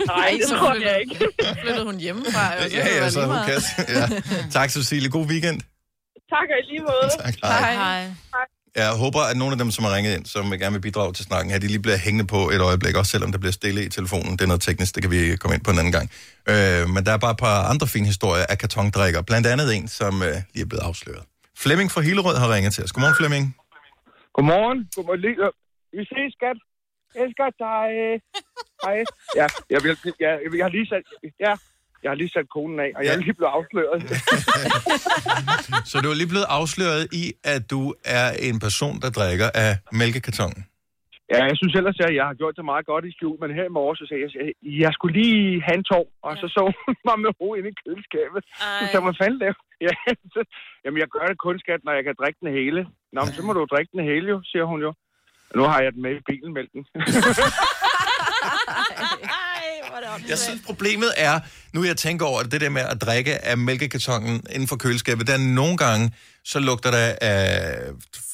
Speaker 12: Nej, det
Speaker 2: så
Speaker 12: tror
Speaker 2: flyttede-
Speaker 12: jeg ikke.
Speaker 4: Flyttede hun hjemmefra?
Speaker 2: jo, så
Speaker 1: ja,
Speaker 2: kan det
Speaker 1: ja,
Speaker 2: være
Speaker 1: så er
Speaker 2: lige
Speaker 1: hun
Speaker 2: meget.
Speaker 1: kasse. Ja. Tak, Cecilie. God weekend.
Speaker 12: Tak og i lige måde.
Speaker 1: Tak, hej. Hej,
Speaker 12: hej.
Speaker 1: Jeg håber, at nogle af dem, som har ringet ind, som gerne vil bidrage til snakken her, de lige bliver hængende på et øjeblik, også selvom der bliver stille i telefonen. Det er noget teknisk, det kan vi komme ind på en anden gang. Øh, men der er bare et par andre fine historier af kartongdrikker. Blandt andet en, som øh, lige er blevet afsløret. Flemming fra Hillerød har ringet til os. Godmorgen, Flemming.
Speaker 14: Godmorgen. Godmorgen. Lige- øh, Vi ses, skat. Elsker dig. Hej. Ja, jeg, vil, jeg, jeg, har lige sat, ja, jeg har lige sat konen af, og jeg er lige blevet afsløret.
Speaker 1: Så du er lige blevet afsløret i, at du er en person, der drikker af mælkekartongen.
Speaker 14: Ja, jeg synes ellers, at jeg har gjort det meget godt i skjul, men her i morges, så sagde jeg, at jeg skulle lige have en tår, og så så hun *laughs* mig med hovedet inde i køleskabet. Så sagde jeg, hvad fanden laver *laughs* ja, så, Jamen, jeg gør det kun, skat, når jeg kan drikke den hele. Nå, men så må du jo drikke den hele, jo, siger hun jo. Nu har jeg den med i bilen, mælken.
Speaker 1: Jeg synes, problemet er, nu jeg tænker over det, det der med at drikke af mælkekartongen inden for køleskabet, der er nogle gange, så lugter der af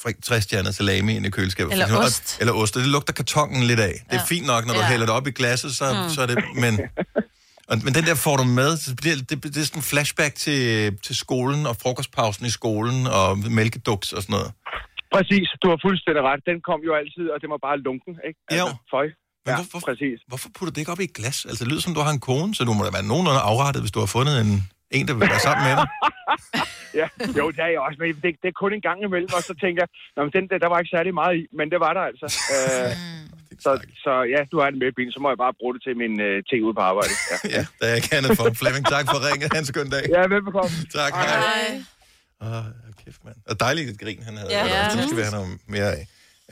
Speaker 1: fri- trestjernet salami ind i køleskabet. for
Speaker 2: Eller
Speaker 1: eksempel.
Speaker 2: ost.
Speaker 1: Og- Eller ost, og det lugter kartongen lidt af. Det er
Speaker 2: Ja.
Speaker 1: fint nok, når du
Speaker 2: Ja.
Speaker 1: hælder det op i glasset, så,
Speaker 2: Mm.
Speaker 1: så er det... Men, og, men den der får du med, så bliver, det, det er sådan en flashback til, til skolen og frokostpausen i skolen og mælkeduks og sådan noget.
Speaker 14: Præcis, du har fuldstændig ret. Den kom jo altid, og den var bare lunken, ikke? Altså,
Speaker 1: Jo.
Speaker 14: Føj.
Speaker 1: Men hvorfor,
Speaker 14: præcis.
Speaker 1: hvorfor putter du det ikke op i et glas? Altså, det lyder som, du har en kone, så du må da være nogenlunde afrettet, hvis du har fundet en, en der vil være sammen
Speaker 14: *laughs*
Speaker 1: med dig.
Speaker 14: Ja, jo, det er jeg også, men det, det er kun en gang imellem, og så tænker jeg, Nå, men den der, der var ikke særlig meget i, men det var der altså. Øh, så, så ja, du har den med i bilen, så må jeg bare bruge det til min øh, ting ude på arbejde. Ja.
Speaker 1: *laughs* ja, der er ikke andet for. Flemming, tak for ringet. Han skøn dag.
Speaker 14: Ja, velbekomme.
Speaker 1: Tak, hej. Åh, kæft, mand. Og dejligt et grin, han havde.
Speaker 15: Ja.
Speaker 1: Ja. Det skal vi have noget mere af.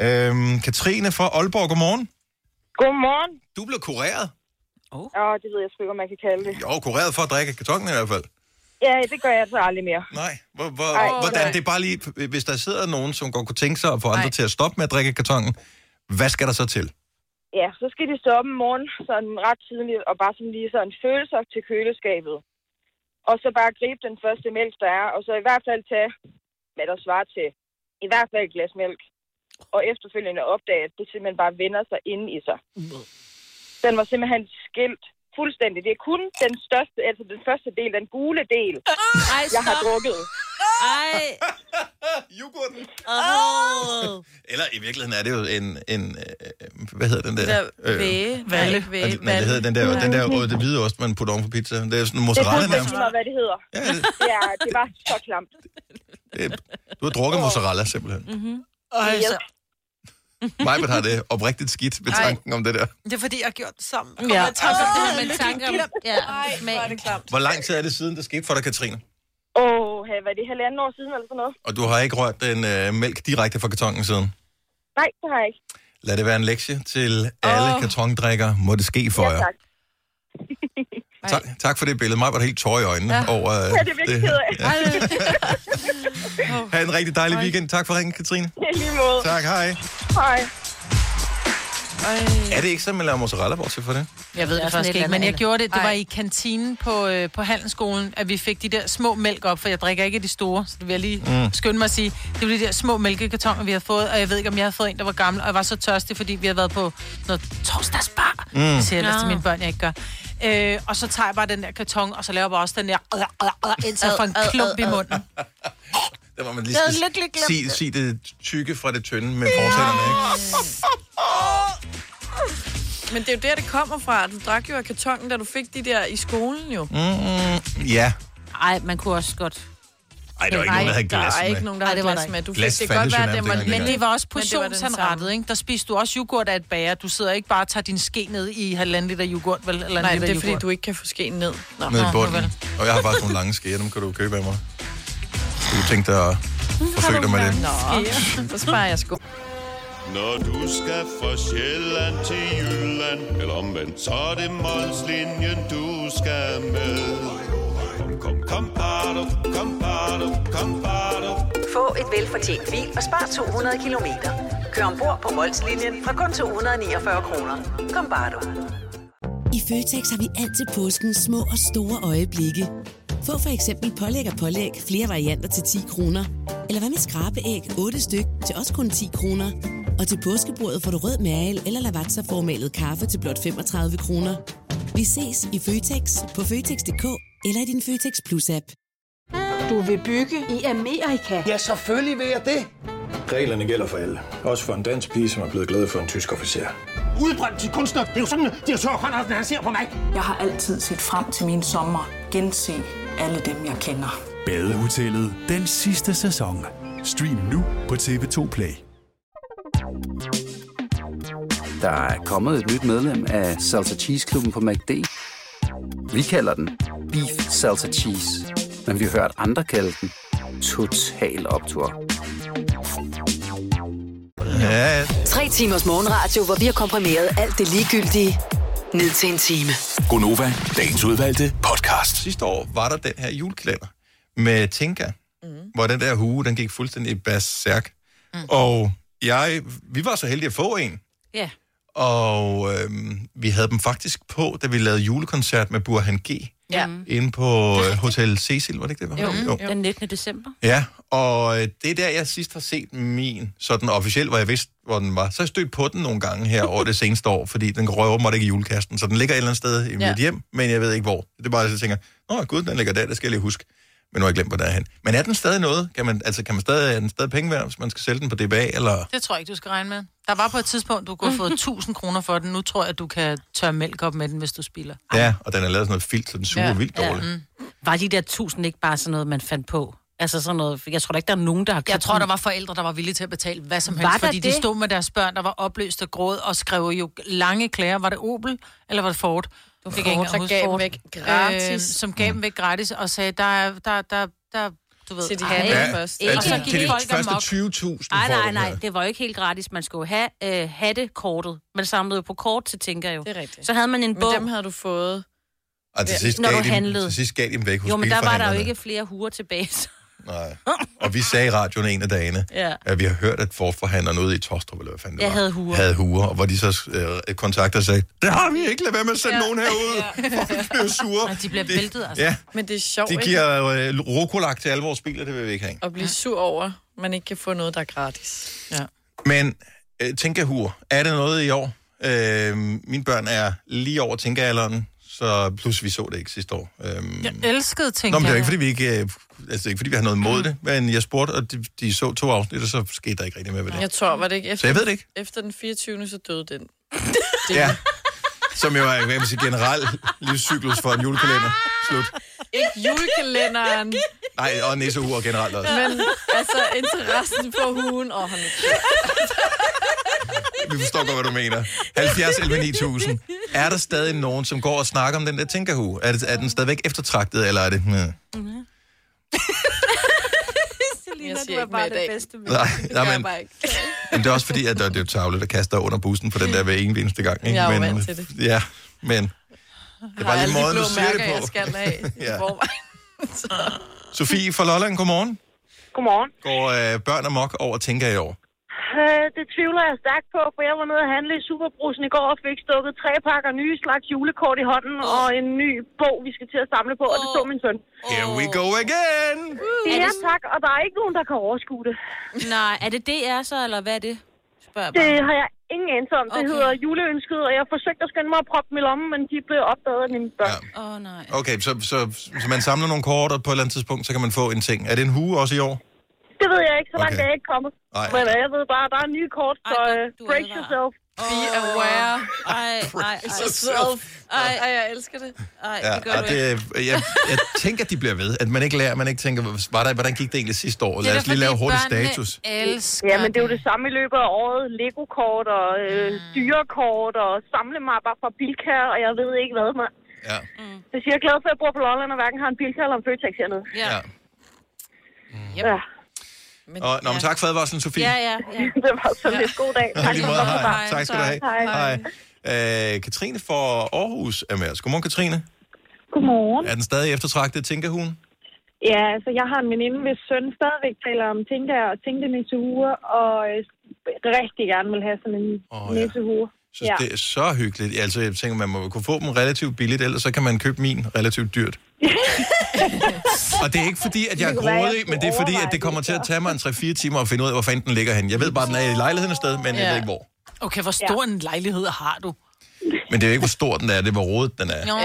Speaker 1: Øhm, Katrine fra Aalborg, godmorgen.
Speaker 12: Godmorgen.
Speaker 1: Du blev kureret.
Speaker 12: Åh, oh. det ved jeg sgu ikke, om man kan kalde det.
Speaker 1: Jo, kureret for at drikke af kartongen i hvert fald.
Speaker 12: Ja, det gør jeg så aldrig mere.
Speaker 1: Nej. Hvor, hvor,
Speaker 12: Ej,
Speaker 1: Ej, hvordan,
Speaker 12: nej.
Speaker 1: det er bare lige, øh, hvis der sidder nogen, som godt kunne tænke sig at få andre til at stoppe med at drikke af kartongen, hvad skal der så til?
Speaker 12: Ja, så skal de stoppe om morgenen sådan ret tidligt, og bare sådan lige sådan føle sig op til køleskabet. og så bare gribe den første mælk, der er, og så i hvert fald tage, hvad der svarer til, i hvert fald et glas mælk, og efterfølgende opdage, at det simpelthen bare vender sig inde i sig. Den var simpelthen skilt fuldstændig. Det er kun den største, altså den første del, den gule del,
Speaker 3: Ej,
Speaker 12: jeg har
Speaker 3: stop.
Speaker 12: drukket.
Speaker 1: *laughs*
Speaker 3: Ej.
Speaker 1: Yoghurten.
Speaker 3: Oh.
Speaker 1: Eller i virkeligheden er det jo en, en øh, hvad hedder den der? Øh,
Speaker 4: Der væge. Valle.
Speaker 1: Nej,
Speaker 4: Væge.
Speaker 1: Nej, det hedder den der, den der øh, det hvide ost, man putter oven på pizza. Det er sådan en mozzarella
Speaker 12: det er
Speaker 1: nærmest.
Speaker 12: lige meget, hvad det hedder. Ja, det... ja, det var så klamt.
Speaker 1: Det, du har drukket mozzarella simpelthen.
Speaker 12: Mm-hmm.
Speaker 2: Og altså,
Speaker 1: Majbert har det oprigtigt skidt ved
Speaker 2: Ej.
Speaker 1: tanken om det der.
Speaker 2: det er fordi, jeg har gjort det sammen.
Speaker 3: Ja.
Speaker 2: Ja. Jeg tanker,
Speaker 3: Åh,
Speaker 2: det her
Speaker 3: men
Speaker 2: med
Speaker 3: tanker om-
Speaker 2: tanker.
Speaker 3: ja,
Speaker 2: Ej, hvor er det klamt.
Speaker 1: Hvor lang tid er det siden, det skete for dig, Katrine?
Speaker 12: Åh, oh, var det halvanden år siden eller sådan noget?
Speaker 1: Og du har ikke rørt den øh, mælk direkte fra kartongen siden?
Speaker 12: Nej, det har jeg ikke.
Speaker 1: Lad det være en lektie til alle oh. kartongdrikker. Må det ske for jer.
Speaker 12: Tak. *laughs*
Speaker 1: Tak, tak for det billede. Mig var helt tårer i øjnene ja. over øh,
Speaker 12: Ja, det er virkelig
Speaker 1: her.
Speaker 12: ked af.
Speaker 1: Ja. Ha' en rigtig dejlig weekend. Tak for ringen, Katrine.
Speaker 12: I lige måde.
Speaker 1: Tak, hej.
Speaker 12: Hej.
Speaker 1: Er det ikke sådan, man laver mozzarella bortset for det?
Speaker 2: Jeg ved
Speaker 3: Det er
Speaker 2: det
Speaker 3: sådan et
Speaker 2: faktisk ikke,
Speaker 3: eller
Speaker 2: men jeg
Speaker 3: andet.
Speaker 2: gjorde det. Det
Speaker 3: Ej.
Speaker 2: var i kantinen på, øh, på handelsskolen, at vi fik de der små mælk op, for jeg drikker ikke de store, så det vil jeg lige
Speaker 15: Mm.
Speaker 2: mm. skynde mig at sige. Det var de der små mælkekartoner, vi havde fået, og jeg ved ikke, om jeg havde fået en, der var gammel, og jeg var så tørstig, fordi vi havde været på noget torsdagsbar,
Speaker 15: Mm.
Speaker 2: mm. det siger jeg ellers
Speaker 15: Nå.
Speaker 2: til mine børn, jeg ikke gør. Øh, og så tager jeg bare den der karton, og så laver jeg bare også den der, øh, øh, øh, indtil *laughs* jeg får en
Speaker 15: Ad, ad,
Speaker 2: klump i
Speaker 15: ad, ad.
Speaker 2: munden.
Speaker 1: Der var man lige
Speaker 2: Jeg havde
Speaker 1: skal
Speaker 2: lykkelig glemt
Speaker 1: sige,
Speaker 2: det.
Speaker 1: sige det tykke fra det tynde med fortællerne, ikke?
Speaker 4: *laughs* Men det er jo der, det kommer fra. Du drak jo af kartongen, da du fik de der i skolen jo.
Speaker 1: Mm, ja.
Speaker 3: Ej, man kunne også godt.
Speaker 1: Ej, der var ikke nogen, der havde glas
Speaker 4: Der er
Speaker 1: med.
Speaker 4: ikke nogen, der havde
Speaker 2: var
Speaker 4: glas
Speaker 2: der
Speaker 4: med.
Speaker 2: ikke.
Speaker 4: Du fik
Speaker 1: Glas
Speaker 4: det
Speaker 1: fandtes
Speaker 4: godt
Speaker 1: jo
Speaker 4: være,
Speaker 1: nærmest
Speaker 4: det var
Speaker 1: ikke engang.
Speaker 2: Men det var også
Speaker 4: Men det var den samme.
Speaker 2: portionsanrettet, ikke? Der spiste du også yoghurt af et bager. Du sidder ikke bare og tager din ske ned i halvanden liter yoghurt, vel? Eller en
Speaker 4: Nej,
Speaker 2: liter
Speaker 4: det er, fordi
Speaker 2: yoghurt.
Speaker 4: du ikke kan få skeen ned. Nå.
Speaker 1: Nede i
Speaker 4: Nå,
Speaker 1: bunden.
Speaker 4: vel.
Speaker 1: Og jeg har faktisk nogle lange skeer, dem kan du købe af mig. Skal du tænke dig at forsøge dig med det?
Speaker 4: Nå, *laughs* så sparer jeg sgu.
Speaker 16: Når du skal fra Sjælland til Jylland, eller omvendt, så er det Molslinjen, du skal med. Kom, kom, kom, bado, kom, bado, kom, bado.
Speaker 17: Få et velfortjent bil og spar 200 kilometer. Kør ombord på Molslinjen fra kun 249 kroner. Kom bare du.
Speaker 18: I Føtex har vi altid påsken små og store øjeblikke. Få for eksempel pålæg og pålæg flere varianter til 10 kroner. Eller hvad med skrabeæg 8 styk til også kun 10 kroner. Og til påskebordet får du rød mal eller lavatserformalet kaffe til blot 35 kroner. Vi ses i Føtex på Føtex.dk eller i din Føtex Plus-app. Du vil bygge i Amerika? Ja, selvfølgelig vil jeg det.
Speaker 19: Reglerne gælder for alle. Også for en dansk pige, som er blevet glad for en tysk officer.
Speaker 20: Udbrændt til kunstner. Det er jo sådan, at de har tørt, han ser på mig. Jeg har altid set frem til min sommer. Gense alle dem, jeg kender.
Speaker 5: Badehotellet den sidste sæson. Stream nu på TV2 Play.
Speaker 21: Der er kommet et nyt medlem af Salsa Cheese Klubben på MACD. Vi kalder den Beef Salsa Cheese, men vi har hørt andre kalde den Total Optor.
Speaker 1: Ja,
Speaker 6: Tre timers morgenradio, hvor vi har komprimeret alt det ligegyldige ned til en time.
Speaker 1: Gonova, dagens udvalgte podcast. Sidste år var der den her julekalender med Tinka, mm.
Speaker 3: Mhm.
Speaker 1: hvor den der hue, den gik fuldstændig berserk. Mm. Og jeg, vi var så heldige at få en,
Speaker 3: Ja.
Speaker 1: og øhm, vi havde dem faktisk på, da vi lavede julekoncert med Burhan G.
Speaker 3: Ja.
Speaker 1: Inde på øh, Hotel Cecil, var det ikke det? Var?
Speaker 3: Jo, Mm. jo, den 19. december.
Speaker 1: Ja, og øh, det er der, jeg sidst har set min, sådan officielt, hvor jeg vidste, hvor den var. Så har jeg stødt på den nogle gange her over det seneste år, fordi den røver åbenbart ikke i julekasten, så den ligger et eller andet sted i
Speaker 22: Ja.
Speaker 1: mit hjem, men jeg ved ikke hvor. Det er bare, at jeg tænker, åh gud, den ligger der, det skal jeg lige huske. Men nu har jeg glemt, hvor den er hen. Men er den stadig noget? Kan man, altså, kan man stadig, er den stadig penge værd, hvis man skal sælge den på DBA, eller...
Speaker 2: Det tror jeg ikke, du skal regne med. Der var på et tidspunkt, du kunne have fået 1000 kroner for den. Nu tror jeg, at du kan tørre mælk op med den, hvis du spiller.
Speaker 1: Ja, og den er lavet sådan noget filt, så den suger ja. vildt dårligt. Ja.
Speaker 3: mm. Var de der tusind ikke bare sådan noget, man fandt på? Altså sådan noget, jeg tror da ikke, der er nogen, der har købt
Speaker 2: Jeg tror,
Speaker 3: den.
Speaker 2: der var forældre, der var villige til at betale hvad som
Speaker 3: Var
Speaker 2: helst,
Speaker 3: der
Speaker 2: fordi
Speaker 3: det?
Speaker 2: de stod med deres børn, der var opløst og gråd, og skrev jo lange klager. Var det Opel, eller var det Ford? Du
Speaker 4: Ford, der gav dem væk gratis.
Speaker 2: Øhm,
Speaker 3: Øh,
Speaker 2: som gav dem væk gratis, og sagde, der er, der, der, der, du ved.
Speaker 4: Til de
Speaker 2: ej,
Speaker 4: handler
Speaker 2: ikke?
Speaker 4: først.
Speaker 1: Ja,
Speaker 2: Og så
Speaker 1: til-
Speaker 2: gik
Speaker 1: til de
Speaker 2: folk
Speaker 1: første
Speaker 2: amok.
Speaker 1: 20.000
Speaker 3: Nej,
Speaker 1: får
Speaker 3: nej,
Speaker 1: den
Speaker 3: nej,
Speaker 1: her.
Speaker 3: det var jo ikke helt gratis. Man skulle jo have øh, hattekortet. Man samlede jo på kort til tænker jo. Det
Speaker 4: er rigtigt.
Speaker 3: Så havde man en
Speaker 4: Men
Speaker 3: bog.
Speaker 4: dem havde du fået.
Speaker 1: Og til sidst,
Speaker 3: når
Speaker 1: gav
Speaker 3: du
Speaker 1: de, dem-
Speaker 3: handlede.
Speaker 1: til sidst gav de dem væk hos
Speaker 3: Jo, men der var der jo
Speaker 1: bilforhandlerne.
Speaker 3: ikke flere huer tilbage. så- *laughs*
Speaker 1: Nej. Og vi sagde i radioen en af dagene,
Speaker 3: Ja.
Speaker 1: at vi har hørt, at Ford-forhandlerne ude i Tostrup, eller hvad fanden det
Speaker 3: Jeg
Speaker 1: var,
Speaker 3: havde huer.
Speaker 1: havde huer, og hvor de så øh, kontakter sagde, det har vi ikke, lad være med at sende
Speaker 4: Ja.
Speaker 1: ja. nogen
Speaker 4: *laughs*
Speaker 1: herude. Ja. Folk bliver sure.
Speaker 4: de bliver
Speaker 1: Det- væltet, altså. ja.
Speaker 4: Men det er sjovt,
Speaker 1: De giver øh, rokolak til alle vores biler, det vil vi ikke have.
Speaker 4: ikke? At blive sur over, man ikke kan få noget, der er gratis. Ja.
Speaker 1: Men øh, tænkahur, er det noget i år? Øh, mine børn er lige over tænkealderen, så plus vi så det ikke sidste år. Øhm,
Speaker 2: Jeg elskede ting.
Speaker 1: Nå, men det er ikke, fordi vi ikke, øh, altså, det er ikke, fordi vi har noget imod det, men jeg spurgte, og de, de så to afsnit, og så skete der ikke rigtig mere ved det.
Speaker 4: Jeg tror, var det ikke efter,
Speaker 1: Så jeg ved det ikke.
Speaker 4: Efter den 24. så døde den.
Speaker 1: Ja. Som jo er, hvad man siger, generel livscyklus for en julekalender. Slut.
Speaker 4: Ikke
Speaker 1: *laughs*
Speaker 4: julekalenderen,
Speaker 1: Nej, og nisseuger generelt også.
Speaker 4: men altså interessen for hugen. Åh, oh,
Speaker 1: Vi forstår godt, hvad du mener. 70 11 9000. Er der stadig nogen, som går og snakker om den der tænkerhue? Er, det, er den stadigvæk eftertragtet, eller er det... Hmm.
Speaker 8: *laughs* Selina,
Speaker 4: Jeg
Speaker 8: du
Speaker 4: siger
Speaker 8: er
Speaker 4: ikke mere
Speaker 8: bare
Speaker 4: i dag.
Speaker 8: det bedste med.
Speaker 1: Nej,
Speaker 8: det
Speaker 1: nej,
Speaker 8: gør
Speaker 1: men-
Speaker 8: jeg bare ikke.
Speaker 1: Men det er også fordi, at der det er jo tavle, der kaster under bussen for den der hver evig eneste gang. Ikke?
Speaker 4: Jeg er jo
Speaker 1: men,
Speaker 4: vant til det.
Speaker 1: Ja, men...
Speaker 4: det
Speaker 1: er bare lige måden,
Speaker 4: de
Speaker 1: du
Speaker 4: blå
Speaker 1: siger det
Speaker 4: mærker,
Speaker 1: på.
Speaker 4: jeg skal have
Speaker 1: Ja.
Speaker 4: i forvejen. Så-
Speaker 1: Sofie fra Lolland, godmorgen.
Speaker 15: Godmorgen.
Speaker 1: Går øh, børn amok over tænker i år?
Speaker 15: Øh, det tvivler jeg stærkt på, for jeg var nede og handle i Superbrusen i går og fik stukket tre pakker nye slags julekort i hånden og en ny bog, vi skal til at samle på, og det så min søn.
Speaker 1: Here we go again!
Speaker 15: Ja, tak, og der er ikke nogen, der kan overskue det.
Speaker 3: Nej, er det DR så, eller hvad er det? Spørg
Speaker 15: Det har jeg ingen anelse om. Det
Speaker 3: Okay.
Speaker 15: hedder juleønsket, og jeg forsøgte at skynde mig at proppe dem i lommen, men de blev opdaget af mine børn.
Speaker 3: Åh, oh, nej.
Speaker 1: Okay, så, så, så man samler nogle kort, og på et eller andet tidspunkt, så kan man få en ting. Er det en hue også i år?
Speaker 15: Det ved jeg ikke, så langt
Speaker 1: Okay.
Speaker 15: okay. er jeg ikke kommet.
Speaker 1: Nej.
Speaker 15: Men øh, jeg ved bare, der er nye kort, så øh, break yourself.
Speaker 4: Be aware.
Speaker 3: Ej, ej, ej.
Speaker 4: yourself.
Speaker 3: Ej,
Speaker 4: Ej, jeg elsker det.
Speaker 3: Ej,
Speaker 1: Ja,
Speaker 3: det gør
Speaker 1: og
Speaker 3: du
Speaker 1: det,
Speaker 3: ikke.
Speaker 1: jeg, jeg tænker, at de bliver ved. At man ikke lærer, man ikke tænker, hvor- var der, hvordan gik det egentlig sidste år? Lad os lige lave hurtig status.
Speaker 2: Elsker
Speaker 15: ja, men det er jo det samme i løbet af året. Lego-kort og øh, dyrekort og samlemapper fra Bilka, og jeg ved ikke hvad, mand.
Speaker 1: Ja.
Speaker 15: Mm. Så siger jeg er glad for, at jeg bor på Lolland og hverken har en Bilka eller en Føtex hernede.
Speaker 1: Ja. ja.
Speaker 15: Yep. ja.
Speaker 1: Og, nå, men tak for advarslen, Sofie.
Speaker 15: ja, ja. *laughs* det var så lidt. God dag.
Speaker 1: Tak, lige måde, *laughs* hej.
Speaker 15: Hej.
Speaker 1: tak skal du have.
Speaker 15: Hej.
Speaker 1: Hej. Øh, Katrine fra Aarhus er med os. Godmorgen, Katrine.
Speaker 15: Godmorgen.
Speaker 1: Er den stadig eftertragtet, tænker hun?
Speaker 8: Ja, altså jeg har en veninde, hvis søn stadigvæk taler om tænker og tænkte nissehure, og øh, rigtig gerne vil have sådan en oh, ja. nissehure.
Speaker 1: Så ja. det er så hyggeligt. Altså, jeg tænker, man må kunne få dem relativt billigt, ellers så kan man købe min relativt dyrt. Og det er ikke fordi, at jeg er
Speaker 8: Det kunne være, jeg
Speaker 1: grådig, men det er fordi, at det kommer til at tage mig en 3-4 timer at finde ud af, hvor fanden den ligger henne. Jeg ved bare, at den er i lejligheden et sted, men jeg
Speaker 2: Ja.
Speaker 1: ved ikke hvor.
Speaker 2: Okay, hvor stor ja. en lejlighed har du?
Speaker 1: Men det er jo ikke, hvor stor den er, det er, hvor rodet den er.
Speaker 2: Nå.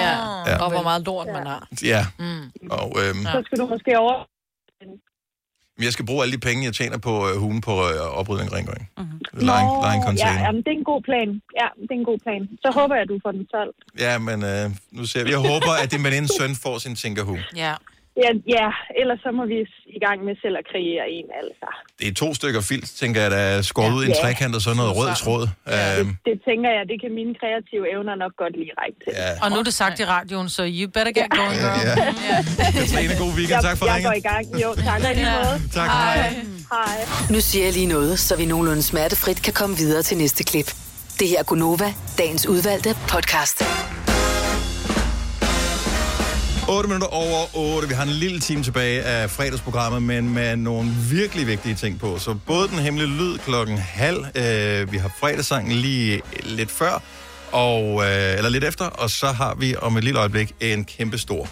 Speaker 1: Ja.
Speaker 4: Og hvor meget lort man har.
Speaker 1: Ja. Og, øhm,
Speaker 8: Så skal du måske over...
Speaker 1: Men jeg skal bruge alle de penge, jeg tjener på øh, hugen på øh, oprydning og rengøring. Mm-hmm. Line, line
Speaker 8: ja,
Speaker 1: container.
Speaker 8: jamen, det er en god plan. Ja, det er en god plan. Så håber jeg, du får den solgt.
Speaker 1: Ja, men øh, nu ser vi. Jeg håber, at din venindes søn får sin tænkerhue.
Speaker 8: Ja. Ja, ja, ellers så må vi s- i gang med selv at kreere en, altså.
Speaker 1: Det er to stykker filt, tænker jeg, der er skåret ud i en
Speaker 8: Ja.
Speaker 1: trekant og sådan noget rød tråd. Ja. Øhm,
Speaker 8: Det tænker jeg, det kan mine kreative evner nok godt lige række til.
Speaker 1: Ja.
Speaker 2: Og nu er det sagt i radioen, så you better get going, girl.
Speaker 1: ja. Katrine, god weekend. Tak for
Speaker 8: jeg,
Speaker 1: ringen.
Speaker 8: jeg går i gang. Jo, tak.
Speaker 15: Ja.
Speaker 1: Tak,
Speaker 8: Hej.
Speaker 1: hej.
Speaker 8: Hej.
Speaker 6: Nu siger jeg lige noget, så vi nogenlunde smertefrit kan komme videre til næste klip. Det her er Gunova, dagens udvalgte podcast.
Speaker 1: 8 minutter over 8. Vi har en lille time tilbage af fredagsprogrammet, men med nogle virkelig vigtige ting på. Så både den hemmelige lyd klokken halv, øh, vi har fredagssangen lige lidt før, og, øh, eller lidt efter, og så har vi om et lille øjeblik en kæmpe stor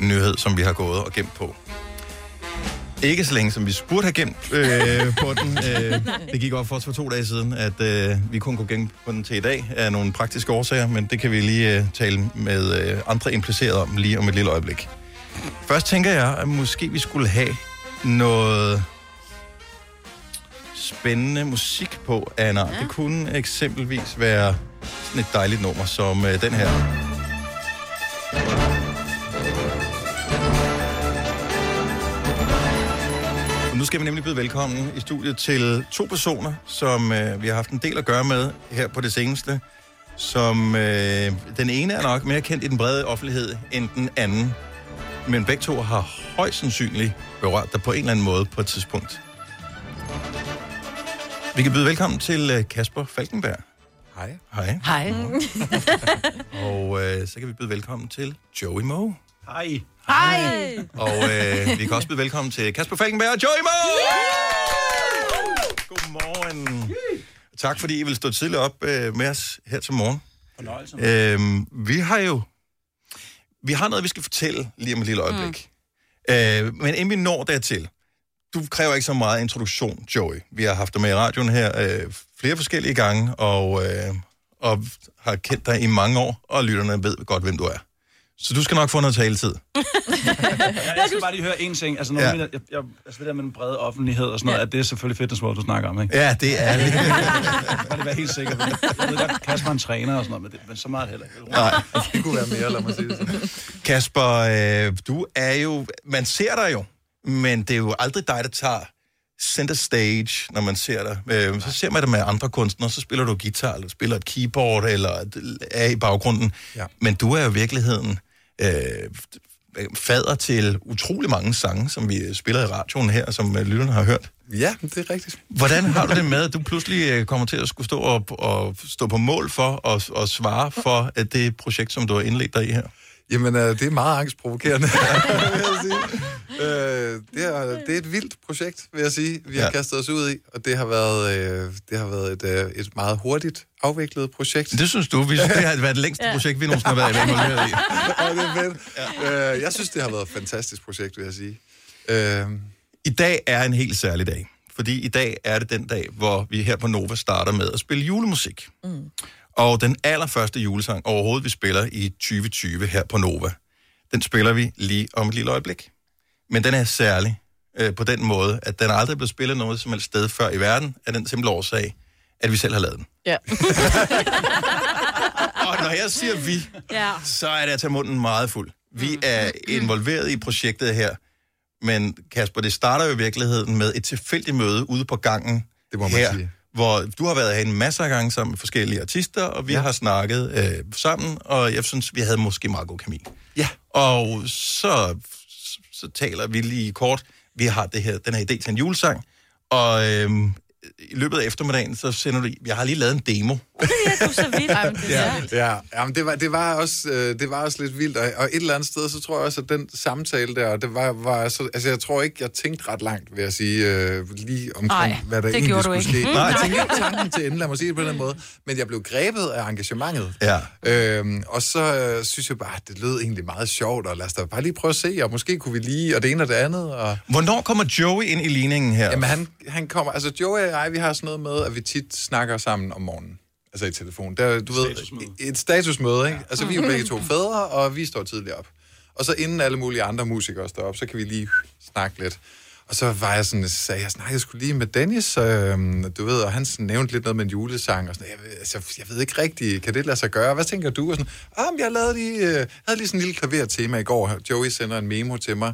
Speaker 1: nyhed, som vi har gået og gemt på. Ikke så længe, som vi burde have gemt øh, på den. Øh, det gik op for os for to dage siden, at øh, vi kun kunne gemme på den til i dag af nogle praktiske årsager, men det kan vi lige øh, tale med øh, andre implicerede om lige om et lille øjeblik. Først tænker jeg, at måske vi skulle have noget spændende musik på, Anna. Ja. Det kunne eksempelvis være sådan et dejligt nummer som øh, den her. Og nu skal vi nemlig byde velkommen i studiet til to personer, som øh, vi har haft en del at gøre med her på det seneste. Som øh, den ene er nok mere kendt i den brede offentlighed end den anden. Men begge to har højst sandsynligt berørt dig på en eller anden måde på et tidspunkt. Vi kan byde velkommen til øh, Kasper Falkenberg. Hej. Hej.
Speaker 2: Hej.
Speaker 1: *laughs* Og øh, så kan vi byde velkommen til Joey Moe. Hej. Hej! Og øh, vi kan også byde velkommen til Kasper Falkenberg og Joey Moe! Godmorgen. Tak fordi I vil stå tidligt op øh, med os her til morgen.
Speaker 9: Fornøjelse. *laughs*
Speaker 1: Øhm, vi har jo... Vi har noget, vi skal fortælle lige om et lille øjeblik. Mm. Øh, men inden vi når dertil, du kræver ikke så meget introduktion, Joey. Vi har haft dig med i radioen her øh, flere forskellige gange, og, øh, og har kendt dig i mange år, og lytterne ved godt, hvem du er. Så du skal nok få noget taletid.
Speaker 9: jeg, jeg skal bare lige høre én ting. Altså, når
Speaker 1: Ja.
Speaker 9: ja. jeg, jeg, jeg, altså det der med den brede offentlighed og sådan noget, ja. at det er selvfølgelig fitness world, du snakker om, ikke?
Speaker 1: Ja, det
Speaker 9: *laughs*
Speaker 1: er det.
Speaker 9: Bare det være helt sikker på. Jeg ved godt, Kasper er en træner og sådan noget, men, det, men så meget heller ikke.
Speaker 1: Nej.
Speaker 9: det kunne være mere, lad mig sige det sådan.
Speaker 1: Kasper, øh, du er jo... Man ser dig jo, men det er jo aldrig dig, der tager center stage, når man ser dig. Øh, så ser man dig med andre kunstnere, så spiller du guitar, eller spiller et keyboard, eller er i baggrunden.
Speaker 9: Ja.
Speaker 1: Men du er jo i virkeligheden øh, fader til utrolig mange sange, som vi spiller i radioen her, som øh, lytterne har hørt.
Speaker 10: Ja, det er rigtigt.
Speaker 1: Hvordan har du det
Speaker 10: *laughs*
Speaker 1: med, at du pludselig øh, kommer til at skulle stå, op og stå på mål for og, og svare for at det projekt, som du har indledt dig i her?
Speaker 10: Jamen, øh, det er meget
Speaker 1: *laughs*
Speaker 10: angstprovokerende, vil jeg sige. Øh, det, er, det er et vildt projekt, vil jeg sige, vi har
Speaker 1: Ja.
Speaker 10: ja. kastet os ud i, og det har været, øh, det har været et, øh, et meget hurtigt afviklet projekt.
Speaker 1: Det synes du? Vi synes, det har været det længste
Speaker 10: Ja.
Speaker 1: projekt, vi nogensinde har været involveret i.
Speaker 10: ja, *laughs* det er fedt. Ja. Øh, jeg synes, det har været et fantastisk projekt, vil jeg sige. Øh.
Speaker 1: I dag er en helt særlig dag, fordi i dag er det den dag, hvor vi her på Nova starter med at spille julemusik.
Speaker 22: Mm.
Speaker 1: Og den allerførste julesang overhovedet, vi spiller i 2020 her på Nova, den spiller vi lige om et lille øjeblik. Men den er særlig øh, på den måde, at den aldrig er blevet spillet noget som helst sted før i verden, af den simple årsag, at vi selv har lavet den.
Speaker 4: Ja.
Speaker 1: *laughs* Og når jeg siger vi,
Speaker 4: ja.
Speaker 1: så er det at tage munden meget fuld. Vi er involveret i projektet her, men Kasper, det starter jo i virkeligheden med et tilfældigt møde ude på gangen det må
Speaker 10: man
Speaker 1: her,
Speaker 10: sige.
Speaker 1: hvor du har været her en masse af gange sammen med forskellige artister, og vi ja. har snakket øh, sammen, og jeg synes, vi havde måske meget god kemi.
Speaker 10: Ja.
Speaker 1: Og så, så taler vi lige kort, vi har det her, den her idé til en julesang, og øh, i løbet af eftermiddagen, så sender du, jeg har lige lavet en demo. *laughs*
Speaker 10: ja, ja, ja men det, var, det, var også, øh, det var også lidt vildt, og, og et eller andet sted, så tror jeg også, at den samtale der, det var, var så, altså jeg tror ikke, jeg tænkte ret langt, vil jeg sige, øh, lige omkring,
Speaker 22: Nej,
Speaker 10: hvad der
Speaker 22: det gjorde du
Speaker 10: egentlig skulle
Speaker 22: ikke.
Speaker 10: ske.
Speaker 22: Mm,
Speaker 10: Nej, jeg
Speaker 22: nej. Mhm.
Speaker 10: tænkte ikke tanken til enden, lad mig sige det på den måde, men jeg blev grebet af engagementet.
Speaker 1: Ja.
Speaker 10: Øhm, og så øh, synes jeg bare, at det lød egentlig meget sjovt, og lad os da bare lige prøve at se, og måske kunne vi lige, og det ene og det andet. Og...
Speaker 1: Hvornår kommer Joey ind i ligningen her?
Speaker 10: Jamen han, han kommer, altså Joey og jeg, vi har sådan noget med, at vi tit snakker sammen om morgenen. Altså i telefon. Der, du ved, et statusmøde, ikke? Altså vi er jo begge to fædre, og vi står tidligt op. Og så inden alle mulige andre musikere står op, så kan vi lige snakke lidt. Og så var jeg sådan, sagde jeg, snakkede sgu lige med Dennis, øh, du ved, og han sådan nævnte lidt noget med en julesang, og sådan, jeg, ved- altså, jeg ved ikke rigtigt, kan det lade sig gøre? Hvad tænker du? Og sådan, ah, men jeg lavede lige, øh, havde lige sådan en lille klavertema i går, Joey sender en memo til mig,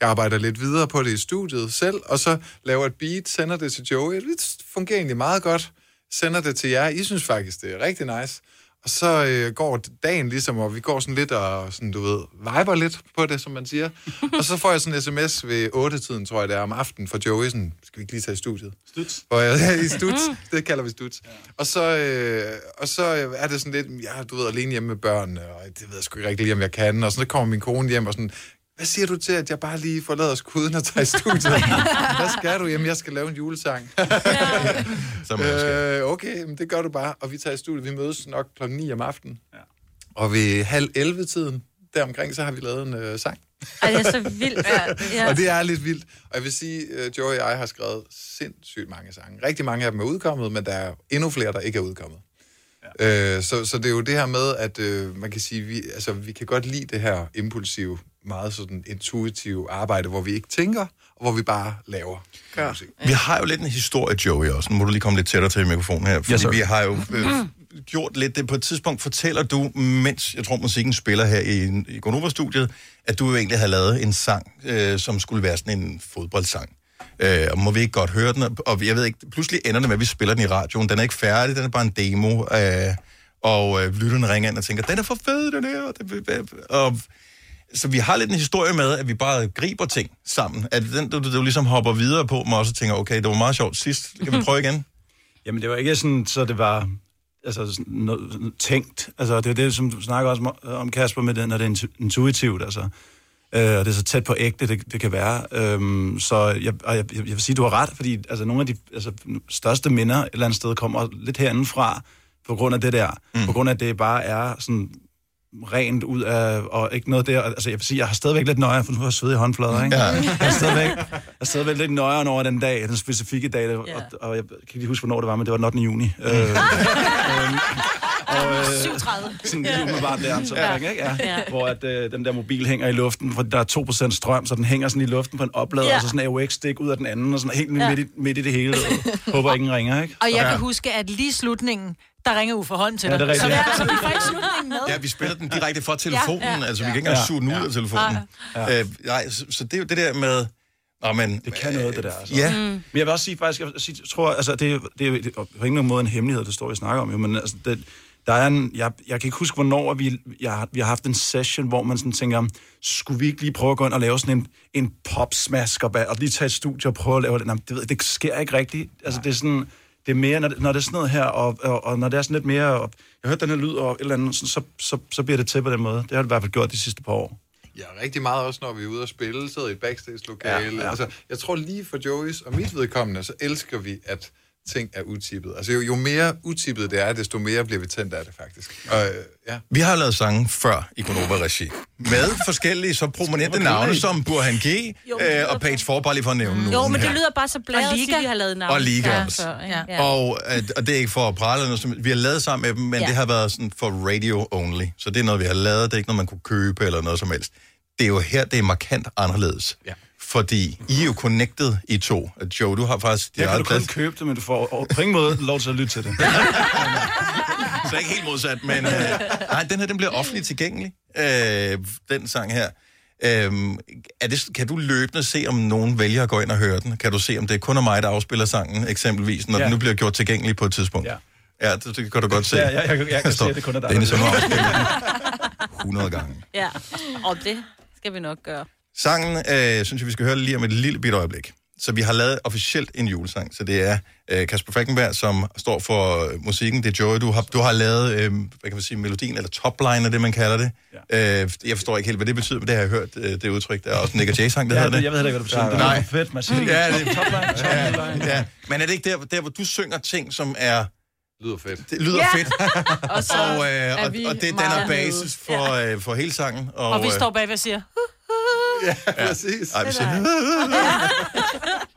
Speaker 10: jeg arbejder lidt videre på det i studiet selv, og så laver et beat, sender det til Joey, det fungerer egentlig meget godt, sender det til jer, I synes faktisk, det er rigtig nice. Og så øh, går dagen ligesom, og vi går sådan lidt og, sådan, du ved, viber lidt på det, som man siger. og så får jeg sådan en sms ved 8-tiden, tror jeg det er, om aftenen fra Joey, sådan, skal vi ikke lige tage i studiet?
Speaker 9: Studs.
Speaker 1: *laughs*
Speaker 10: Hvor jeg, *laughs* i studs, det kalder vi studs. Og så, øh, og så øh, er det sådan lidt, ja, du ved, alene hjemme med børnene, og det ved jeg sgu ikke rigtig lige, om jeg kan. Og så kommer min kone hjem og sådan, hvad siger du til, at jeg bare lige forlader skuden og tager i
Speaker 3: *laughs*
Speaker 10: studiet? hvad skal du? Jamen, jeg skal lave en julesang. *laughs* øh, okay, men det gør du bare. Og vi tager i studiet. Vi mødes nok kl. 9 om aftenen. Ja. Og ved halv 11-tiden, deromkring, så har vi lavet en øh, sang.
Speaker 3: Ej, det er så
Speaker 10: *laughs*
Speaker 3: vildt. Ja.
Speaker 10: Og det er lidt vildt. Og jeg vil sige, øh, Joey og jeg har skrevet sindssygt mange sange. Rigtig mange af dem er udkommet, men der er endnu flere, der ikke er udkommet. Ja. Øh, så, så det er jo det her med, at øh, man kan sige, vi, altså, vi kan godt lide det her impulsive, meget sådan intuitive arbejde, hvor vi ikke tænker, og hvor vi bare laver. Gør.
Speaker 1: Mm. Vi har jo lidt en historie, Joey, også. Nu må du lige komme lidt tættere til mikrofonen her. Fordi vi har jo *clears throat* øh,
Speaker 22: Mm.
Speaker 1: gjort lidt det. På et tidspunkt fortæller du, mens jeg tror musikken spiller her i, i Gonova-studiet, at du jo egentlig havde lavet en sang, øh, som skulle være sådan en fodboldsang. Øh, og må vi ikke godt høre den? Og- Og jeg ved ikke, pludselig ender det med, at vi spiller den i radioen. Den er ikke færdig, den er bare en demo. Øh, og øh, lytterne ringer ind og tænker, den er for fed, den her. Og, det, og så vi har lidt en historie med, at vi bare griber ting sammen. At den, du, du, du ligesom hopper videre på mig, og så tænker, okay, det var meget sjovt sidst, kan vi prøve igen?
Speaker 9: *laughs* Jamen, det var ikke sådan, så det var altså, sådan noget, sådan tænkt. Altså, det er det, som du snakker også om- om, Kasper, med den, at det er intu- intuitivt. Altså. Øh, og det er så tæt på ægte, det, det kan være. Øhm, så jeg, og jeg, jeg vil sige, du har ret, fordi altså, nogle af de altså, største minder et eller andet sted kommer lidt herindefra, på grund af det der. Mm. På grund af, at det bare er sådan rent ud af, og ikke noget der. Altså, jeg vil sige, jeg har stadigvæk lidt nøje, for nu har jeg sved i håndflader, ikke?
Speaker 1: Ja.
Speaker 9: Jeg har stadigvæk, jeg har stadigvæk lidt nøjeren over den dag, den specifikke dag, yeah. og, og, jeg kan ikke lige huske, hvornår det var, men det var den 8. juni. Øh,
Speaker 2: *laughs*
Speaker 9: øhm, og, øh,
Speaker 3: 37.
Speaker 9: Sådan lige umiddelbart der, så ja. ikke? Ja.
Speaker 3: Ja.
Speaker 9: Hvor at, øh, den der mobil hænger i luften, for der er 2% strøm, så den hænger sådan i luften på en oplader,
Speaker 2: Ja.
Speaker 9: og så sådan en AUX-stik ud af den anden, og sådan helt
Speaker 2: Ja.
Speaker 9: midt, i, midt i det
Speaker 2: *laughs*
Speaker 9: hele. Håber ingen ringer, ikke?
Speaker 2: Og
Speaker 9: Så-
Speaker 2: jeg kan huske, at lige i slutningen, der ringer Uffe Holm til
Speaker 9: Ja,
Speaker 2: dig.
Speaker 9: det er rigtigt,
Speaker 2: så,
Speaker 9: ja.
Speaker 2: så vi får ikke slutningen med.
Speaker 1: Ja, vi spiller den direkte fra telefonen,
Speaker 2: Ja,
Speaker 1: ja,
Speaker 2: ja.
Speaker 1: ja. altså vi kan ikke engang
Speaker 9: Ja.
Speaker 1: suge den ud af telefonen.
Speaker 9: Ja.
Speaker 1: Øh, nej, så, så det er jo det der med... Nå, men, det
Speaker 9: kan noget, det der. Altså.
Speaker 1: Ja.
Speaker 9: Mm.
Speaker 1: Mm.
Speaker 9: Men jeg vil også sige, faktisk, jeg, vil sige, jeg tror, altså, det, er jo- det, er jo- det er jo på ingen måde en hemmelighed, det står, vi snakker om, jo, men altså, det, der er en, jeg, jeg kan ikke huske, hvornår at vi, jeg, har- vi har haft en session, hvor man sådan tænker, skulle vi ikke lige prøve at gå ind og lave sådan en, en popsmask, og, ba- og lige tage et studie og prøve at lave det? Nej, det, ved, jeg, det sker ikke rigtigt. Altså, det er sådan, det er mere, når det, når det er sådan noget her, og, og, og når det er sådan lidt mere, og, jeg hørte den her lyd, og et eller andet, sådan, så, så, så bliver det til på den måde. Det har det i hvert fald gjort de sidste par år.
Speaker 10: Ja, rigtig meget også, når vi er ude og spille, sidder i et backstage-lokale.
Speaker 9: Ja,
Speaker 10: Ja,
Speaker 9: ja.
Speaker 10: ja. Altså, jeg tror lige for Joey's og mit vedkommende, så elsker vi, at ting er utippet. Altså, jo, jo mere utippet det er, desto mere bliver vi tændt af det, faktisk. Og, øh, ja.
Speaker 1: Vi har lavet sange før i Gonova-regi. Med forskellige så prominente
Speaker 10: Skal vi
Speaker 1: navne,
Speaker 10: det?
Speaker 1: som Burhan G. øh, og Page 4, bare lige for at nævne nogle
Speaker 3: Jo, men det
Speaker 1: her.
Speaker 3: lyder bare så blæret, at vi har lavet navn.
Speaker 1: Og Liga.
Speaker 3: Ja, så, ja. Ja.
Speaker 1: Og, øh, og det er ikke for at prale, eller noget, som- vi har lavet sammen med dem, men
Speaker 3: Ja.
Speaker 1: ja. det har været sådan for radio only. Så det er noget, vi har lavet, det er ikke noget, man kunne købe eller noget som helst. Det er jo her, det er markant anderledes. Ja. Fordi I er jo connected, I to. Joe, du har faktisk...
Speaker 9: Jeg kan du
Speaker 1: eget
Speaker 9: kun
Speaker 1: plads-
Speaker 9: købe det, men du får over- på ingen måde lov til at lytte til det.
Speaker 1: Så ikke helt modsat, men... Øh, nej, den her, den bliver offentligt tilgængelig, øh, den sang her. Øhm, er det, kan du løbende se, om nogen vælger at gå ind og høre den? Kan du se, om det er kun er mig, der afspiller sangen, eksempelvis, når ja. den nu bliver gjort tilgængelig på et tidspunkt? Ja. Ja, det, det kan du godt se. ligesom
Speaker 9: Ja, ja, jeg kan- jeg kan
Speaker 1: Der
Speaker 9: se,
Speaker 1: står,
Speaker 9: at det kun er dig, der
Speaker 1: Dennis, han
Speaker 9: gør
Speaker 1: har
Speaker 9: det."
Speaker 1: afspillet den *laughs* 100 gange.
Speaker 3: ja. Og det skal vi nok gøre.
Speaker 1: Sangen øh, synes jeg, vi skal høre lige om et lille bit øjeblik. Så vi har lavet officielt en julesang, så det er øh, Kasper Falkenberg, som står for øh, musikken. Det er Joey, du har, du har lavet, øh, hvad kan man sige, melodien, eller topline er det, man kalder det. Ja. Øh, jeg forstår ikke helt, hvad det betyder, men det har jeg hørt, øh, det udtryk. Der er også en Nick Jay-sang, der
Speaker 9: Ja,
Speaker 1: hedder det.
Speaker 9: jeg ved heller ikke, hvad det betyder.
Speaker 1: Ja,
Speaker 9: Det lyder
Speaker 1: Nej.
Speaker 9: fedt, man siger.
Speaker 1: Ja, det,
Speaker 9: Topline, topline.
Speaker 1: ja, ja. Men er det ikke der, der, hvor du synger ting, som er...
Speaker 10: Lyder fedt.
Speaker 1: Det lyder
Speaker 2: Ja.
Speaker 1: fedt.
Speaker 2: *laughs* Og så
Speaker 1: og,
Speaker 2: er
Speaker 1: øh, og,
Speaker 2: vi
Speaker 1: og det danner
Speaker 2: meget
Speaker 1: basis for, øh, for hele sangen. Og,
Speaker 2: Og, og vi
Speaker 1: øh,
Speaker 2: står bag og siger...
Speaker 1: Ja, *laughs*
Speaker 10: præcis.
Speaker 1: Ej, vi siger,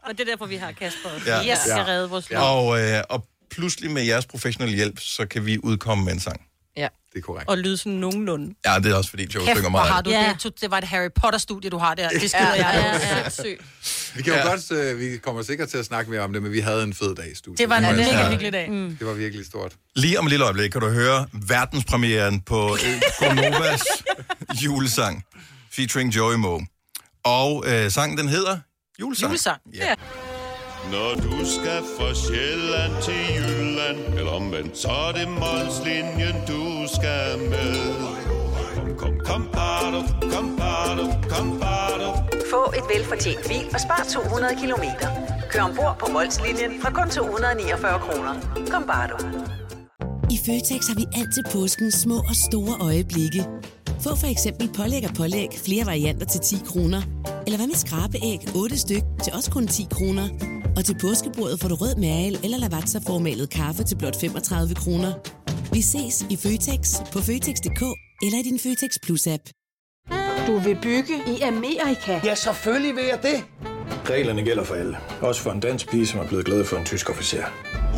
Speaker 3: Og det er derfor, vi har Kasper.
Speaker 1: Ja.
Speaker 3: Ja. Yes, jeg redde vores liv.
Speaker 1: Og, øh, og pludselig med jeres professionelle hjælp, så kan vi udkomme med en sang.
Speaker 3: Ja.
Speaker 1: Det er korrekt.
Speaker 3: Og lyde sådan nogenlunde.
Speaker 1: Ja, det er også fordi, Joe
Speaker 2: Kæft,
Speaker 1: synger
Speaker 2: hvor
Speaker 1: meget.
Speaker 2: har
Speaker 1: af
Speaker 2: du
Speaker 1: det.
Speaker 2: ja. det. Det var et Harry Potter-studie, du har der. Det skriver
Speaker 4: Ja.
Speaker 2: ja. jeg.
Speaker 4: Ja.
Speaker 2: Ja.
Speaker 10: Vi, kan jo ja. godt, øh, vi kommer sikkert til at snakke mere om det, men vi havde en fed dag i studiet.
Speaker 2: Det var en
Speaker 10: må jeg
Speaker 2: mega
Speaker 10: sige.
Speaker 2: hyggelig dag. Mm.
Speaker 10: Det var virkelig stort. *laughs*
Speaker 1: Lige om et lille øjeblik kan du høre verdenspremieren på øh, Gonovas julesang, featuring Joey Moe. Og øh, sangen, den hedder Julesang.
Speaker 16: Julesang.
Speaker 2: Ja.
Speaker 16: Når du skal fra Sjælland til Jylland, eller omvendt, så er det Molslinjen, du skal med. Kom, kom, kom, bado, kom, bado, kom, bado.
Speaker 17: Få et velfortjent bil og spar 200 kilometer. Kør ombord på Molslinjen fra kun 249 kroner. Kom bare du.
Speaker 18: I Føtex har vi altid påsken små og store øjeblikke. Få for eksempel pålæg og pålæg flere varianter til 10 kroner. Eller hvad med skrabeæg 8 styk til også kun 10 kroner. Og til påskebordet får du rød mal eller lavatserformalet kaffe til blot 35 kroner. Vi ses i Føtex på Føtex.dk eller i din Føtex Plus-app.
Speaker 7: Du vil bygge i Amerika? Ja, selvfølgelig vil jeg det.
Speaker 19: Reglerne gælder for alle. Også for en dansk pige, som er blevet glad for en tysk officer.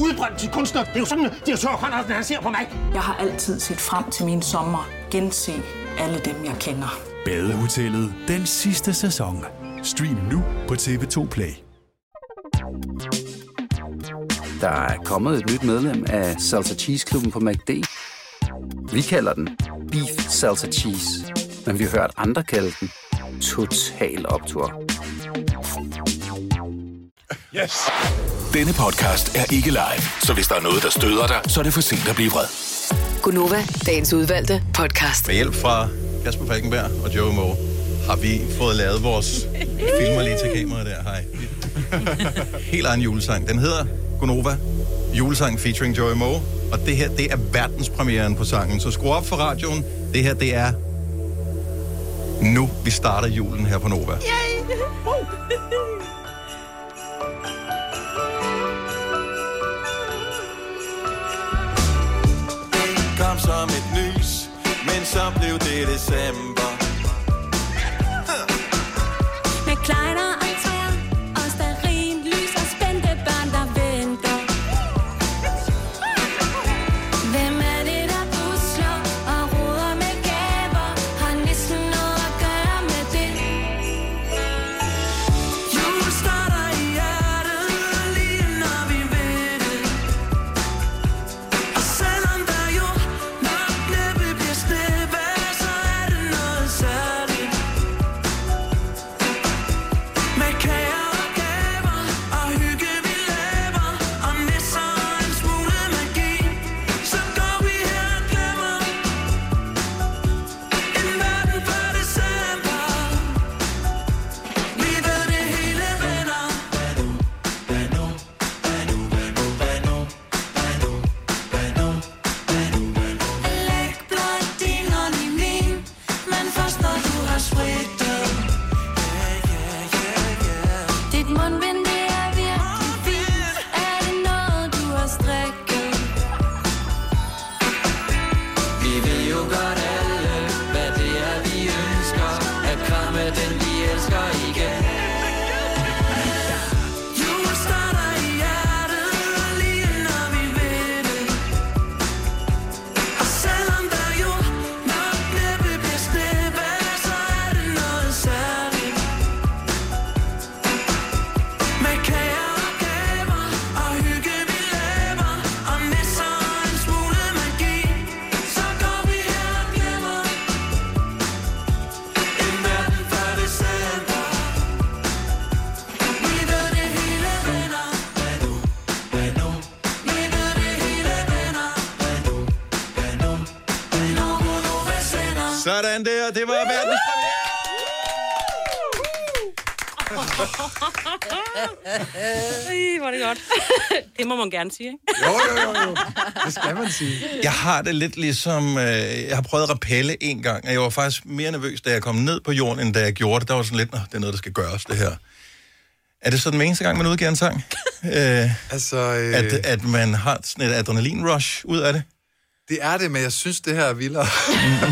Speaker 20: Udbrændt til kunstner. Det er jo sådan, at de har tørt, Conradsen, han ser på mig. Jeg har altid set frem til min sommer. Gense alle dem, jeg kender.
Speaker 5: Badehotellet den sidste sæson. Stream nu på TV2 Play.
Speaker 21: Der er kommet et nyt medlem af Salsa Cheese Klubben på MACD. Vi kalder den Beef Salsa Cheese, men vi har hørt andre kalde den Total Optor.
Speaker 5: Yes.
Speaker 11: Denne podcast er ikke live, så hvis der er noget, der støder dig, så er det for sent at blive vred.
Speaker 6: Gunova, dagens udvalgte podcast.
Speaker 1: Med hjælp fra Kasper Falkenberg og Joey Moe har vi fået lavet vores Vi filmer lige til kameraet der, hej. Helt egen julesang. Den hedder Gonova, julesang featuring Joey Moe. Og det her, det er verdenspremieren på sangen. Så skru op for radioen. Det her, det er nu. Vi starter julen her på Nova.
Speaker 16: Yay!
Speaker 13: Det kom som et lys, men så blev det december.
Speaker 23: Med kleiner og træer og starin lys og spændte børn, der venter. Hvem er det, der pusler og roder med gaver? Har næsten noget at gøre med det? Jul starter i hjertet, lige når vi ved det. Og selvom der jo nok næppe bliver sneppe, så er det noget særligt. Med kager og gaver og hygge vi laver og nisser og en smule magi. Så går vi her og glemmer en verden før december. Vi ved det hele vender. Læg blot din hånd i min, men først når du har spritet. Dit mundbind, det er virkelig fint. Er det noget, du har strikket?
Speaker 13: Vi ved jo godt alle, hvad det er, vi ønsker. At kramme den, vi elsker igen.
Speaker 23: Jul starter i hjertet, lige når vi ved det. Og selvom der jo nok næppe bliver sneppe, så er det noget særligt. Med kager og gaver, og hygge vi laver, og nisser og en smule magi, så går vi her og glemmer en verden før december. Vi ved det hele vender. Vi ved det hele vender. Når hun nu vil sende os.
Speaker 1: Sådan der, det var verdens
Speaker 3: *laughs* Ej, hvor er det godt. det må man gerne sige, ikke?
Speaker 1: Jo, jo, jo, jo.
Speaker 10: Det skal man sige.
Speaker 1: Jeg har det lidt ligesom, øh, jeg har prøvet rappelle en gang, og jeg var faktisk mere nervøs, da jeg kom ned på jorden, end da jeg gjorde det. Der var sådan lidt, "Nå, det er noget, der skal gøres, det her. Er det så den eneste gang, man udgiver en sang? øh,
Speaker 10: *laughs* altså, øh...
Speaker 1: at, at man har sådan et adrenalin-rush ud af det? Mm.
Speaker 10: Det er det, men jeg synes, det her er vildere.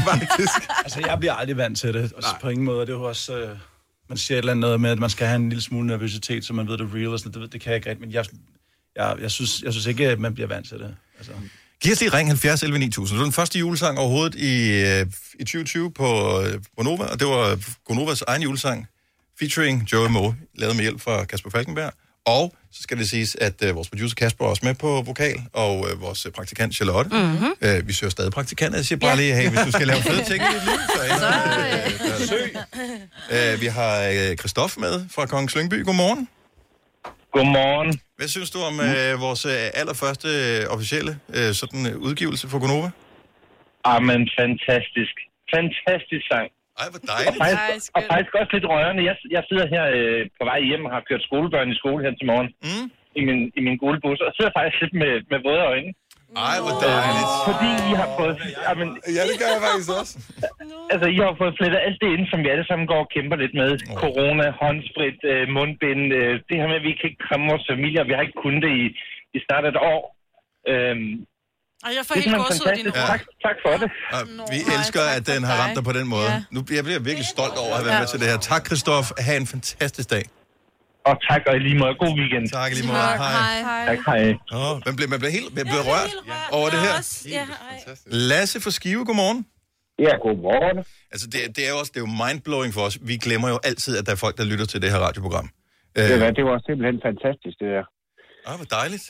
Speaker 10: *laughs*
Speaker 9: altså, jeg bliver aldrig vant til det, og på ingen måde. Det er jo også... Øh, man siger et eller andet med, at man skal have en lille smule nervøsitet, så man ved, det er real og sådan noget. Det, det kan jeg ikke rigtig, men jeg, jeg, jeg, synes, jeg synes ikke, at man bliver vant til det. Altså.
Speaker 1: Giv os lige ring 70 11 9000. Det var den første julesang overhovedet i, øh, i 2020 på øh, Gonova, og det var Gonovas egen julesang, featuring Joey Moe, lavet med hjælp fra Kasper Falkenberg. Og så skal det siges, at øh, vores producer Kasper er også med på vokal, og øh, vores praktikant Charlotte.
Speaker 16: Mhm.
Speaker 1: Øh, vi søger stadig praktikanter. Jeg siger bare lige, hey, hvis du skal lave fede ting, Øh, vi har øh, Christoph med fra Kongens Lyngby. Godmorgen. Godmorgen. Hvad synes du om øh, vores øh, allerførste øh, officielle øh, sådan, øh, udgivelse for Gonova?
Speaker 22: Jamen, fantastisk. Fantastisk sang.
Speaker 1: Ej, hvor dejligt.
Speaker 22: Og faktisk, og faktisk også lidt rørende. Jeg, jeg sidder her øh, på vej hjem og har kørt skolebørn i skole her til morgen.
Speaker 1: Mm.
Speaker 22: I min, i min gule bus, og sidder faktisk lidt med, med våde øjne.
Speaker 1: Ej, hvor dejligt.
Speaker 22: Fordi I har fået... Jamen,
Speaker 10: ja, det gør jeg faktisk også.
Speaker 22: *laughs* Altså, I har fået flettet alt det ind, som vi alle sammen går og kæmper lidt med. Corona, håndsprit, øh, mundbind. Øh, det her med, at vi kan ikke kramme vores familier. Vi har ikke kunnet det i, i snart et år. Øhm,
Speaker 2: Og jeg får
Speaker 22: Det er
Speaker 2: helt
Speaker 22: simpelthen
Speaker 2: gåsehud i dine
Speaker 22: fantastisk.
Speaker 2: ord.
Speaker 22: tak for det.
Speaker 1: vi elsker, at den har ramt dig på den måde. Ja. Nu bliver jeg bliver virkelig stolt over at have været
Speaker 22: Ja.
Speaker 1: med til det her. Tak, Christoph. Ha' en fantastisk dag.
Speaker 22: og tak, og i lige måde. God weekend.
Speaker 1: Tak i lige måde. Tak, Hej.
Speaker 22: hej. Tak, hej.
Speaker 1: Åh, man bliver, man bliver helt man bliver rørt over det her.
Speaker 22: Ja,
Speaker 1: Lasse fra Skive, godmorgen.
Speaker 22: Ja, godmorgen.
Speaker 1: Altså, det, det er jo også det er jo mindblowing for os. Vi glemmer jo altid, at der er folk, der lytter til det her radioprogram.
Speaker 24: Øh. Det, var, det var simpelthen fantastisk, det der.
Speaker 1: Ah, hvor dejligt.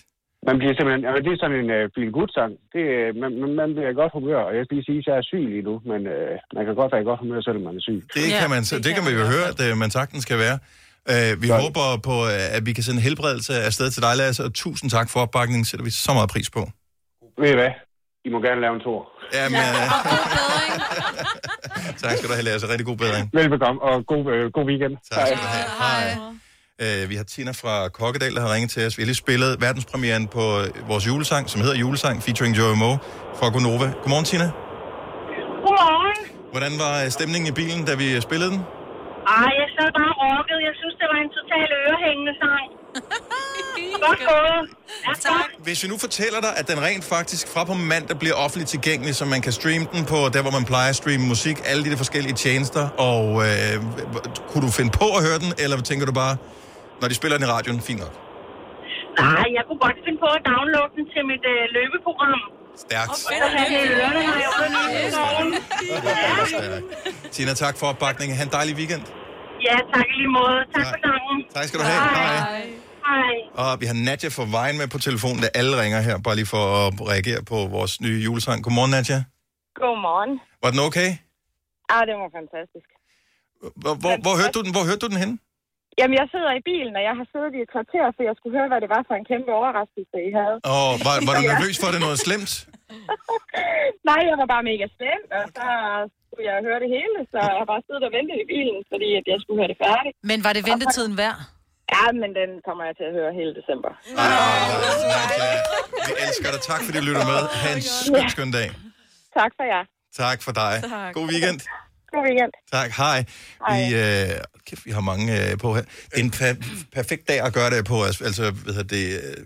Speaker 24: Man bliver simpelthen... Altså, det er sådan en uh, feel good sang. Det, øh, man, man- man bliver i godt humør, og jeg skal lige sige, at jeg er syg lige nu, men uh, man kan godt være i godt humør, selvom man er syg.
Speaker 1: Det ja, kan man, det, det kan man jo høre, at øh, man sagtens kan være. Øh, vi håber på, øh, at vi kan sende helbredelse afsted til dig, Lasse, og tusind tak for opbakningen. Sætter vi så meget pris på.
Speaker 24: Ved I hvad? I må gerne lave en tur.
Speaker 1: Jamen, øh, Tak skal du have, Lasse. Rigtig god bedring.
Speaker 24: Velbekomme, og god, øh, god weekend.
Speaker 1: Tak skal du have. Hej. Øh, vi har Tina fra Kokkedal, der har ringet til os. Vi har lige spillet verdenspremieren på øh, vores julesang, som hedder Julesang, featuring Joey Moe fra Gonova. Godmorgen, Tina.
Speaker 15: Godmorgen.
Speaker 1: Hvordan var øh, stemningen i bilen, da vi øh, spillede den?
Speaker 25: Ej, jeg sad bare og rockede. Jeg synes, det var en total ørehængende sang. Godt gået. Ja, tak.
Speaker 1: Hvis vi nu fortæller dig, at den rent faktisk fra på mandag bliver offentligt tilgængelig, så man kan streame den på der, hvor man plejer at streame musik, alle de der forskellige tjenester, og øh, h- kunne du finde på at høre den, eller tænker du bare, når de spiller den i radioen, fint nok?
Speaker 25: Nej, jeg kunne godt finde på at downloade den til mit øh, løbeprogram.
Speaker 1: Stærkt.
Speaker 25: Og så have det i ørerne, når jeg er ude i skoven.
Speaker 1: Tina, tak for opbakningen. Ha' en dejlig weekend.
Speaker 25: Ja, tak i lige måde. Tak for sangen.
Speaker 1: Tak skal du have. Hej.
Speaker 25: Hej.
Speaker 1: Og vi har Nadja fra Vejen med på telefonen, da alle ringer her, bare lige for at reagere på vores nye julesang. Godmorgen, Nadja.
Speaker 15: Godmorgen.
Speaker 1: Var den okay?
Speaker 15: Ah, det var fantastisk.
Speaker 1: Hvor, hvor, hvor, hørte, du den, hvor hørte du den henne?
Speaker 15: Jamen, jeg sidder i bilen, og jeg har siddet i et kvarter, for jeg skulle høre, hvad det var for en kæmpe overraskelse, I havde.
Speaker 1: Og var,
Speaker 15: *laughs*
Speaker 1: var du
Speaker 15: Ja.
Speaker 1: nervøs for, at det er noget slemt?
Speaker 15: Nej, jeg var bare mega spændt, og så skulle jeg høre det hele, så jeg har bare siddet og ventet i bilen, fordi at jeg skulle høre det færdigt.
Speaker 2: Men var det ventetiden værd?
Speaker 15: Ja, men den kommer jeg til at høre hele december.
Speaker 1: Vi elsker dig. Tak, fordi du lytter med. Ha' en skøn, skøn dag.
Speaker 15: Tak for jer.
Speaker 1: Tak for dig.
Speaker 15: Tak.
Speaker 1: God weekend.
Speaker 15: God weekend.
Speaker 1: Tak, hej. Vi, øh, kæft, vi har mange øh, på her. Det er en per- perfekt dag at gøre det på. Altså, altså, ved det, øh,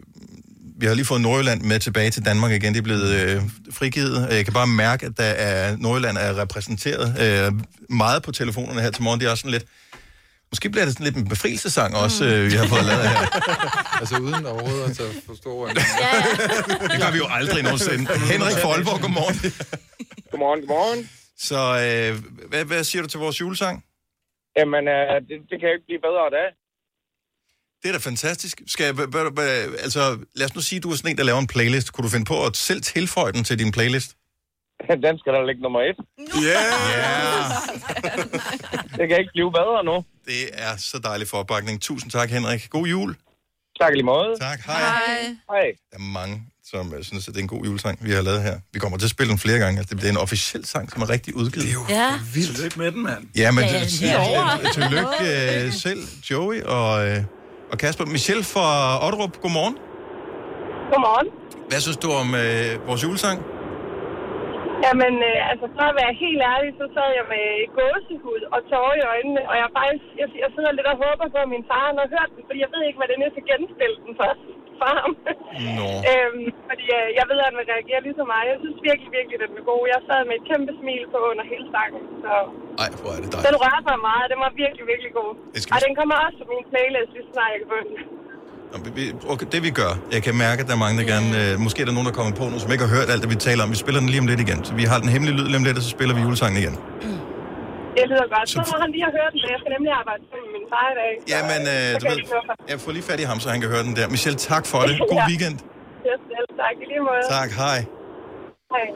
Speaker 1: vi har lige fået Nordjylland med tilbage til Danmark igen. Det er blevet øh, frigivet. Jeg kan bare mærke, at der er, Nordjylland er repræsenteret øh, meget på telefonerne her til morgen. Det er også sådan lidt... Måske bliver det sådan lidt en befrielsesang også, øh, vi har fået lavet her.
Speaker 10: altså uden overhovedet at tage- forstå, at...
Speaker 1: Det gør vi jo aldrig
Speaker 10: *laughs*
Speaker 1: nogensinde. Henrik Folborg, godmorgen.
Speaker 14: Godmorgen, godmorgen.
Speaker 1: Så øh, hvad, hvad siger du til vores julesang?
Speaker 14: Jamen, øh, det, det kan jo ikke blive bedre da.
Speaker 1: Det er da fantastisk. Skal, jeg- hvad- hvad- hvad- altså, lad os nu sige, at du er sådan en, der laver en playlist. Kunne du finde på at selv tilføje den til din playlist?
Speaker 14: *laughs* Den skal da ligge nummer et.
Speaker 1: Yeah! yeah.
Speaker 14: *laughs* Det kan ikke blive bedre nu.
Speaker 1: Det er så dejligt for opbakningen. Tusind tak, Henrik. God jul.
Speaker 14: Tak i lige måde.
Speaker 1: Tak, hej. Hej.
Speaker 14: Hej.
Speaker 1: Der er mange, som øh, synes, at det er en god julesang, vi har lavet her. Vi kommer til at spille den flere gange. Altså, det bliver en officiel sang, som er rigtig udgivet. Det er jo
Speaker 3: Ja.
Speaker 1: vildt.
Speaker 9: Tillykke med den, mand.
Speaker 1: Ja, men
Speaker 9: Ja,
Speaker 1: ja,
Speaker 9: ja,
Speaker 1: det,
Speaker 9: det er
Speaker 1: ja,
Speaker 9: over.
Speaker 1: tillykke øh, selv, Joey og, øh, og Kasper. Michelle fra Otterup, godmorgen.
Speaker 25: Godmorgen.
Speaker 1: Hvad synes du om øh, vores julesang?
Speaker 25: Jamen, øh, altså for at være helt ærlig, så sad jeg med gåsehud og tårer i øjnene, og jeg, er faktisk, jeg, jeg sidder lidt og håber på, at min far han har hørt den, fordi jeg ved ikke, hvad det næste genspil den for, for ham.
Speaker 1: Nå.
Speaker 25: *laughs* øhm, fordi øh, jeg ved, at han vil reagere lige så meget. Jeg synes virkelig, virkelig, den er god. Jeg sad med et kæmpe smil på under hele sangen, så
Speaker 1: Ej, hvor er det
Speaker 25: den
Speaker 1: dejligt.
Speaker 25: rørte mig meget. Den var virkelig, virkelig god. Og den kommer også på min playlist, hvis snart jeg kan få den.
Speaker 1: Nå, vi- vi- Okay, det vi gør, jeg kan mærke, at der er mange, der gerne... Øh, måske er der nogen, der kommer på nu, som ikke har hørt alt det, vi taler om. Vi spiller den lige om lidt igen. Så vi har den hemmelige lyd lige om lidt, og så spiller vi julesangen igen.
Speaker 25: Det lyder godt. Så må han lige have hørt den, og jeg skal nemlig arbejde sammen med min far i dag. så,
Speaker 1: Jamen, øh,
Speaker 25: så
Speaker 1: du
Speaker 25: kan
Speaker 1: ved,
Speaker 25: jeg lige nå for-
Speaker 1: jeg får lige fat i ham, så han kan høre den der. Michelle, tak for
Speaker 25: *laughs*
Speaker 1: det. God
Speaker 25: Ja.
Speaker 1: weekend.
Speaker 25: Ja, selv tak. I lige måde.
Speaker 1: Tak, hej.
Speaker 25: Hej.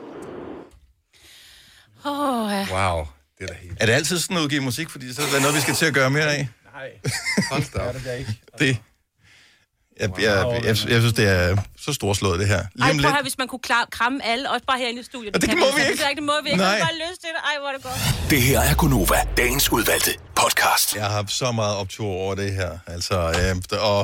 Speaker 3: Åh, ja.
Speaker 1: Wow, det er da helt... Er det altid sådan at udgive musik, fordi så er der noget, vi skal til at gøre mere af?
Speaker 10: Hold da op.
Speaker 1: Det... Jeg, jeg, jeg, jeg, jeg synes, det er så storslået, det her.
Speaker 3: Ej,
Speaker 1: Lige om
Speaker 3: prøv
Speaker 1: lidt...
Speaker 3: at høre, hvis man kunne klar, kramme alle, også bare herinde i studiet.
Speaker 1: Og det
Speaker 3: kan
Speaker 1: må vi ikke.
Speaker 3: altså Det, det må vi ikke.
Speaker 1: Nej.
Speaker 3: Nej. Jeg har bare lyst til det. Ej, hvor er det godt.
Speaker 1: Det her er Gunova, dagens udvalgte podcast. Jeg har så meget optur over det her. Altså, øh, og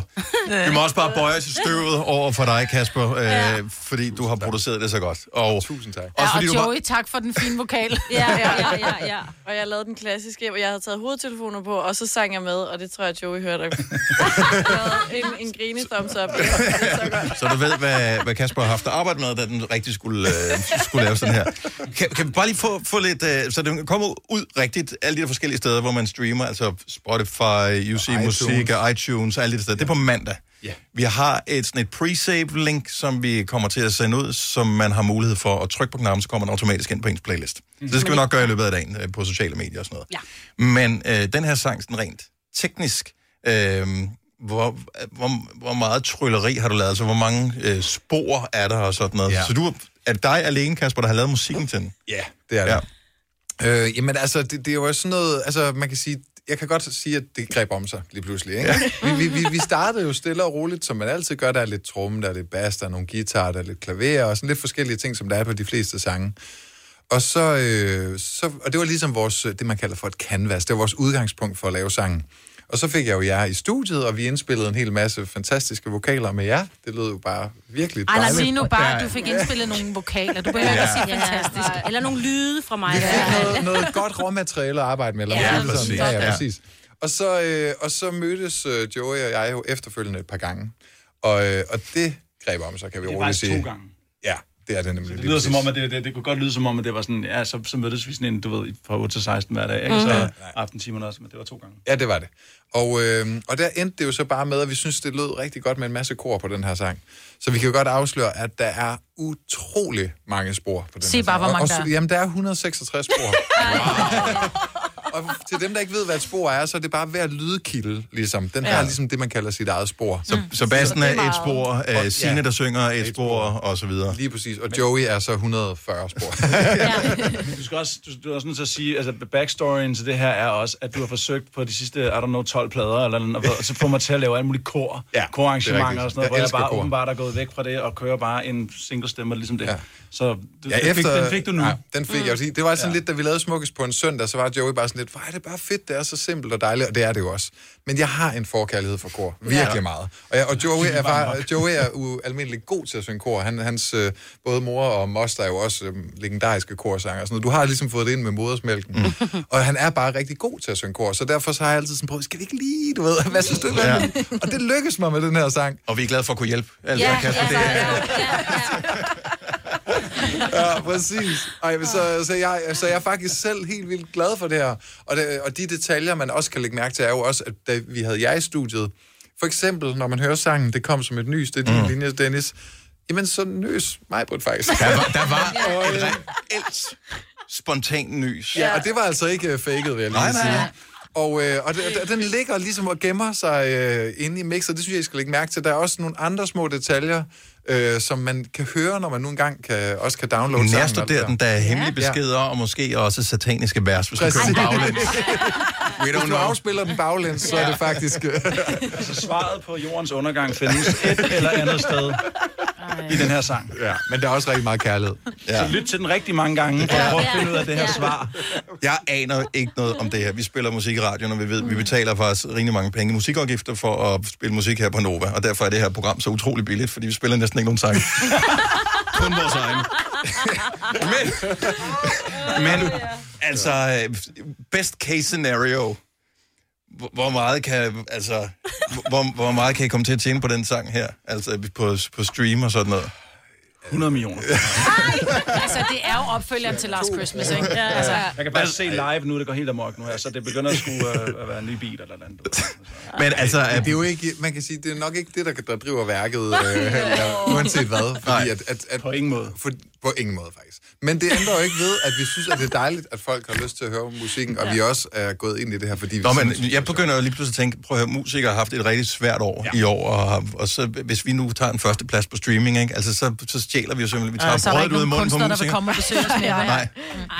Speaker 1: vi må også bare bøje os i støvet over for dig, Kasper, øh, ja. fordi du har produceret det så godt. Og, Tusind tak. Også fordi
Speaker 2: ja, og
Speaker 1: du har...
Speaker 2: Joey, tak for den fine vokal.
Speaker 4: Ja, ja, ja, ja,
Speaker 2: *laughs*
Speaker 4: ja. Og jeg lavede den klassiske, hvor jeg havde taget hovedtelefoner på, og så sang jeg med, og det tror jeg, Joey
Speaker 8: *laughs*
Speaker 4: hørte. *laughs* Jeg lavede en, en grine thumbs up.
Speaker 1: Så du ved, hvad, hvad Kasper har haft at arbejde med, da den rigtig skulle, øh, skulle lave sådan her. Kan, kan vi bare lige få, få lidt, øh, så den kommer ud rigtigt, alle de der forskellige steder, hvor man streamer, altså Spotify, UC
Speaker 10: iTunes.
Speaker 1: Musik og iTunes og alle de der steder. Det er på mandag.
Speaker 10: Ja.
Speaker 1: Vi har et, sådan et pre-save link, som vi kommer til at sende ud, som man har mulighed for at trykke på knappen, så kommer den automatisk ind på ens playlist.
Speaker 10: Mhm.
Speaker 1: Så det skal vi nok gøre i løbet af dagen øh, på sociale medier og sådan noget. Ja. Men øh, den her sang, sådan rent teknisk, øh, hvor, hvor, hvor meget trylleri har du lavet? Altså, hvor mange øh, spor er der og sådan noget? Ja.
Speaker 10: Ja.
Speaker 1: Så du, er det dig alene, Kasper, der har lavet musikken til den?
Speaker 10: Ja, det er det. Ja. Øh, jamen altså, det, det er jo også sådan noget, altså man kan sige, jeg kan godt sige, at det greb om sig lige pludselig. Ikke? Ja. Vi, vi, vi startede jo stille og roligt, som man altid gør. Der er lidt tromme, der er lidt bass, der er nogle guitar, der er lidt klaver, og sådan lidt forskellige ting, som der er på de fleste sange. Og så, øh, så og det var ligesom vores, det man kalder for et canvas, det var vores udgangspunkt for at lave sangen. Og så fik jeg jo jer i studiet, og vi indspillede en hel masse fantastiske vokaler med jer. Det lød jo bare virkelig
Speaker 2: Ej,
Speaker 10: dejligt.
Speaker 2: lad sige nu bare, at du fik
Speaker 10: Ja.
Speaker 2: indspillet nogle vokaler. Du behøver ikke at
Speaker 10: Ja.
Speaker 2: sige fantastisk.
Speaker 3: Eller nogle lyde fra mig.
Speaker 2: Vi fik
Speaker 10: noget, noget godt råmateriale at arbejde med. Eller
Speaker 3: Ja,
Speaker 10: hvad det er,
Speaker 3: præcis.
Speaker 10: sådan. Ja, ja,
Speaker 3: Ja.
Speaker 10: præcis. Og så, øh, og så mødtes øh, Joey og jeg jo efterfølgende et par gange. Og, øh, og det greb om sig, kan vi
Speaker 9: Det er
Speaker 10: roligt
Speaker 9: faktisk
Speaker 10: sige.
Speaker 9: to gange.
Speaker 10: Ja, det er det nemlig.
Speaker 9: Det
Speaker 10: lige
Speaker 9: lyder som
Speaker 10: præcis.
Speaker 9: om, at det, det, det kunne godt lyde som om, at det var sådan, ja, så, så mødtes vi sådan en, du ved, fra 8 til 16 hver dag, ikke?
Speaker 10: Mhm.
Speaker 9: Så
Speaker 10: Ja,
Speaker 9: aftentimerne også, men det var to gange.
Speaker 10: Ja, det var det. Og, øh, og der endte det jo så bare med, at vi synes, det lød rigtig godt med en masse kor på den her sang. Så vi kan jo godt afsløre, at der er utrolig mange spor på den
Speaker 2: Se
Speaker 10: her
Speaker 2: bare,
Speaker 10: sang.
Speaker 2: hvor mange
Speaker 10: og,
Speaker 2: der er.
Speaker 10: og, Jamen, der er 166 spor.
Speaker 2: *laughs*
Speaker 10: og til dem, der ikke ved, hvad et spor er, så er det bare hver lydkilde, ligesom. Den
Speaker 1: Ja.
Speaker 10: ja. har ligesom det, man kalder sit eget spor.
Speaker 2: Mm.
Speaker 1: Så, så bassen er et spor,
Speaker 10: Og-
Speaker 1: øh, Signe,
Speaker 10: ja.
Speaker 1: der synger et spor, og så videre.
Speaker 10: Lige præcis. Og Joey er så 140 spor.
Speaker 9: du skal også, du, du er også nødt til at sige, altså backstoryen til det her er også, at du har forsøgt på de sidste, I don't know, 12 plader, eller, noget, og så får mig til at lave alle mulige kor,
Speaker 10: Ja,
Speaker 9: ja, korarrangementer
Speaker 10: det er
Speaker 9: og sådan noget,
Speaker 10: rigtigt.
Speaker 9: hvor
Speaker 10: Jeg
Speaker 9: jeg
Speaker 10: elsker
Speaker 9: bare
Speaker 10: kor.
Speaker 9: åbenbart er gået væk fra det, og kører bare en single stemmer ligesom det. Ja. Så du,
Speaker 10: Ja,
Speaker 9: den, fik,
Speaker 10: efter-
Speaker 9: den fik du nu.
Speaker 10: Ja, den fik jeg også i. Det var sådan ja. lidt, da vi lavede Smukkes på en søndag, så var Joey bare sådan lidt, hvor er det bare fedt, det er så simpelt og dejligt, og det er det jo også. Men jeg har en forkærlighed for kor, virkelig
Speaker 1: Ja.
Speaker 10: ja. meget. Og, jeg, og Joey er,
Speaker 1: Bare
Speaker 10: bare, Joey er ualmindelig god til at synge kor. Han, hans øh, både mor og moster er jo også øh, legendariske korsanger og sådan noget. Du har ligesom fået det ind med modersmælken. Mm. *laughs* Og han er bare rigtig god til at synge kor, så derfor så har jeg altid sådan prøvet, skal vi ikke lige, du ved, *laughs* hvad synes du?
Speaker 1: Ja.
Speaker 10: Ja. Og det lykkedes mig med den her sang.
Speaker 1: Og vi er glade for at kunne hjælpe. Altså,
Speaker 10: Ja,
Speaker 1: Kasper,
Speaker 10: ja,
Speaker 1: det er,
Speaker 10: ja, præcis. Ej, men så, så, jeg, så jeg er faktisk selv helt vildt glad for det her. Og, det, og de detaljer, man også kan lægge mærke til, er jo også, at da vi havde jeg i studiet, for eksempel, når man hører sangen, det kom som et nys, det er din mm. linje, Dennis, jamen så nøs mig på faktisk.
Speaker 1: Der var- der
Speaker 10: *laughs*
Speaker 1: var
Speaker 10: og, øh,
Speaker 1: et *laughs* reelt spontan nys.
Speaker 10: Ja, og det var altså ikke øh, faked, vil jeg lige
Speaker 1: Nej, nej.
Speaker 10: sige. Og, øh, og d- d- den ligger ligesom og gemmer sig øh, inde i mixet. Det synes jeg, I skal lægge mærke til. Der er også nogle andre små detaljer, øh, som man kan høre, når man nu engang kan, også kan downloade sangen og alt det
Speaker 1: Nærstuderer den, der er hemmelige beskeder, og måske også sataniske vers, hvis du kører den
Speaker 10: *laughs*
Speaker 1: baglæns.
Speaker 10: We don't
Speaker 1: know.
Speaker 10: afspiller den baglæns, så er det
Speaker 9: *laughs*
Speaker 10: faktisk...
Speaker 9: altså svaret på jordens undergang findes et eller andet sted i den her sang.
Speaker 10: Ja, men der er også rigtig meget
Speaker 9: *laughs*
Speaker 10: kærlighed.
Speaker 1: Ja.
Speaker 9: Så lyt til den rigtig mange gange, for at prøve at finde ud af det her
Speaker 1: Ja.
Speaker 9: svar.
Speaker 1: Jeg aner ikke noget om det her. Vi spiller musik i radioen, og vi ved, vi betaler faktisk rimelig mange penge i musikafgifter for at spille musik her på Nova. Og derfor er det her program så utrolig billigt, fordi vi spiller næsten ikke nogen *laughs* sang. Kun vores egen. men, men altså, øh, best case scenario, hvor- hvor meget kan, altså, hvor, hvor meget kan I komme til at tjene på den sang her? Altså på, på stream og sådan noget?
Speaker 9: 100 millioner.
Speaker 2: Altså, det er jo opfølgeren til Last Christmas, ikke?
Speaker 9: Ja,
Speaker 2: Altså,
Speaker 9: Jeg kan bare se live nu, det går helt amok nu her, så det begynder at skulle øh, at være en ny bil eller noget andet.
Speaker 1: Men altså...
Speaker 10: Det er jo ikke, man kan sige, det er nok ikke det, der, der driver værket, øh, eller, uanset hvad. Fordi at, at, at,
Speaker 9: på ingen måde.
Speaker 10: For, på ingen måde, faktisk. Men det ændrer jo ikke ved, at vi synes, at det er dejligt, at folk har lyst til at høre musikken, og ja. vi også er gået ind i det her, fordi vi
Speaker 1: Nå, men
Speaker 10: synes,
Speaker 1: jeg begynder jo lige pludselig at tænke, prøv at høre, musikere har haft et rigtig svært år ja. i år, og, har- og så, hvis vi nu tager en førsteplads på streaming, ikke? Altså, så, så stjæler vi jo simpelthen, vi
Speaker 2: Ja, Øh, så
Speaker 1: tager
Speaker 2: er
Speaker 1: brødet
Speaker 2: der ikke
Speaker 1: ud af
Speaker 2: nogen
Speaker 1: munden på
Speaker 2: kunstnere, der vil
Speaker 1: musikere.
Speaker 2: komme og besøge
Speaker 1: *laughs*
Speaker 2: os mere.
Speaker 1: Nej.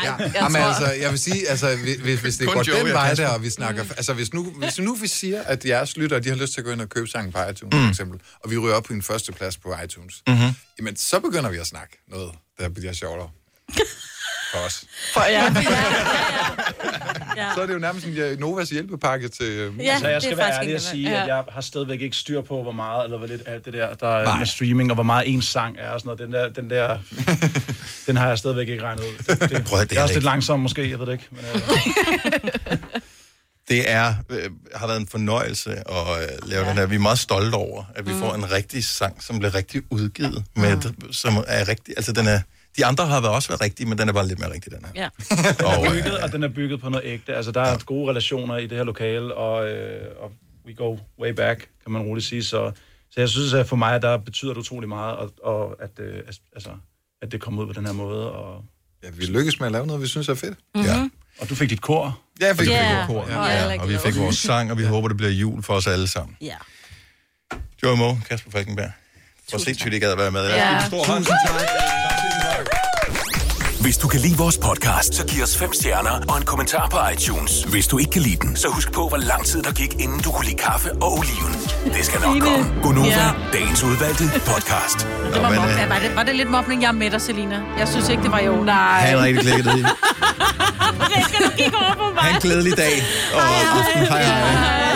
Speaker 10: Ja,
Speaker 2: jeg
Speaker 10: Jamen,
Speaker 2: tror-
Speaker 10: altså, jeg vil sige, altså, hvis- hvis, hvis det
Speaker 1: Kun
Speaker 10: går
Speaker 1: Joey
Speaker 10: den
Speaker 1: og
Speaker 10: vej
Speaker 1: Kasper.
Speaker 10: der, og vi snakker... Altså, hvis nu, hvis nu vi siger, at jeres lyttere, de har lyst til at gå ind og købe sangen på iTunes, mm. for eksempel, og vi ryger op på en førsteplads på iTunes,
Speaker 1: Mhm.
Speaker 10: jamen, så begynder vi at snakke noget, der bliver sjovere. For os.
Speaker 26: For jer.
Speaker 10: Ja. *laughs* Så er det jo nærmest en ja, Novas hjælpepakke til... øh,
Speaker 9: Ja, altså, jeg skal være ærlig
Speaker 26: ikke
Speaker 9: og sige,
Speaker 26: nemt.
Speaker 9: at jeg har stadigvæk ikke styr på, hvor meget eller hvor lidt alt det der, der er med streaming, og hvor meget en sang er og sådan noget. Den der, den
Speaker 10: *laughs*
Speaker 9: der, den har jeg stadigvæk ikke regnet ud. Det, det,
Speaker 1: Prøv at det
Speaker 9: jeg er
Speaker 1: er
Speaker 9: også lidt
Speaker 1: ikke.
Speaker 9: langsom måske, jeg ved det
Speaker 10: *laughs*
Speaker 9: ikke. Men, øh,
Speaker 1: Det er, øh, har været en fornøjelse at øh, lave ja. den her. Vi er meget stolte over, at vi mm. får en rigtig sang, som bliver rigtig udgivet, med, mm. som er rigtig, altså den er, de andre har været også været rigtige, men den er bare lidt mere rigtig, den her.
Speaker 3: Ja.
Speaker 9: den er bygget, og den er bygget på noget ægte. Altså, der er gode relationer i det her lokale, og, øh, og we go way back, kan man roligt sige. Så, så jeg synes, at for mig, der betyder det utrolig meget, og, og at, øh, altså, at det kommer ud på den her måde. Og...
Speaker 10: Ja, vi lykkes med at lave noget, vi synes er fedt.
Speaker 1: Ja.
Speaker 9: Og du fik dit kor.
Speaker 10: Ja, jeg fik
Speaker 1: yeah.
Speaker 10: mit kor.
Speaker 1: kor.
Speaker 10: Ja.
Speaker 1: Ja.
Speaker 10: Og jeg
Speaker 1: Ja.
Speaker 10: er
Speaker 1: Og vi
Speaker 10: glad.
Speaker 1: fik vores sang, og vi håber, det bliver jul for os alle sammen.
Speaker 3: Ja.
Speaker 1: Joey Moe, Kasper Falkenberg. For sindssygt, I gad at være med.
Speaker 11: Ja.
Speaker 1: En stor hånd.
Speaker 11: Hvis du kan lide vores podcast, så giv os fem stjerner og en kommentar på iTunes. Hvis du ikke kan lide den, så husk på, hvor lang tid der gik, inden du kunne lide kaffe og oliven. Det skal nok
Speaker 2: Signe.
Speaker 11: komme. Gonova,
Speaker 2: Ja.
Speaker 11: dagens udvalgte podcast.
Speaker 2: Det var,
Speaker 11: øh,
Speaker 2: mob- var, det, var det lidt mobning? Jeg er med dig, Selina. Jeg synes ikke, det var i orden. Nej.
Speaker 1: Han er
Speaker 2: *laughs*
Speaker 1: rigtig klikket i.
Speaker 2: Det skal du kigge over på mig.
Speaker 1: Ha' en glædelig dag. Og aften. Hej hej.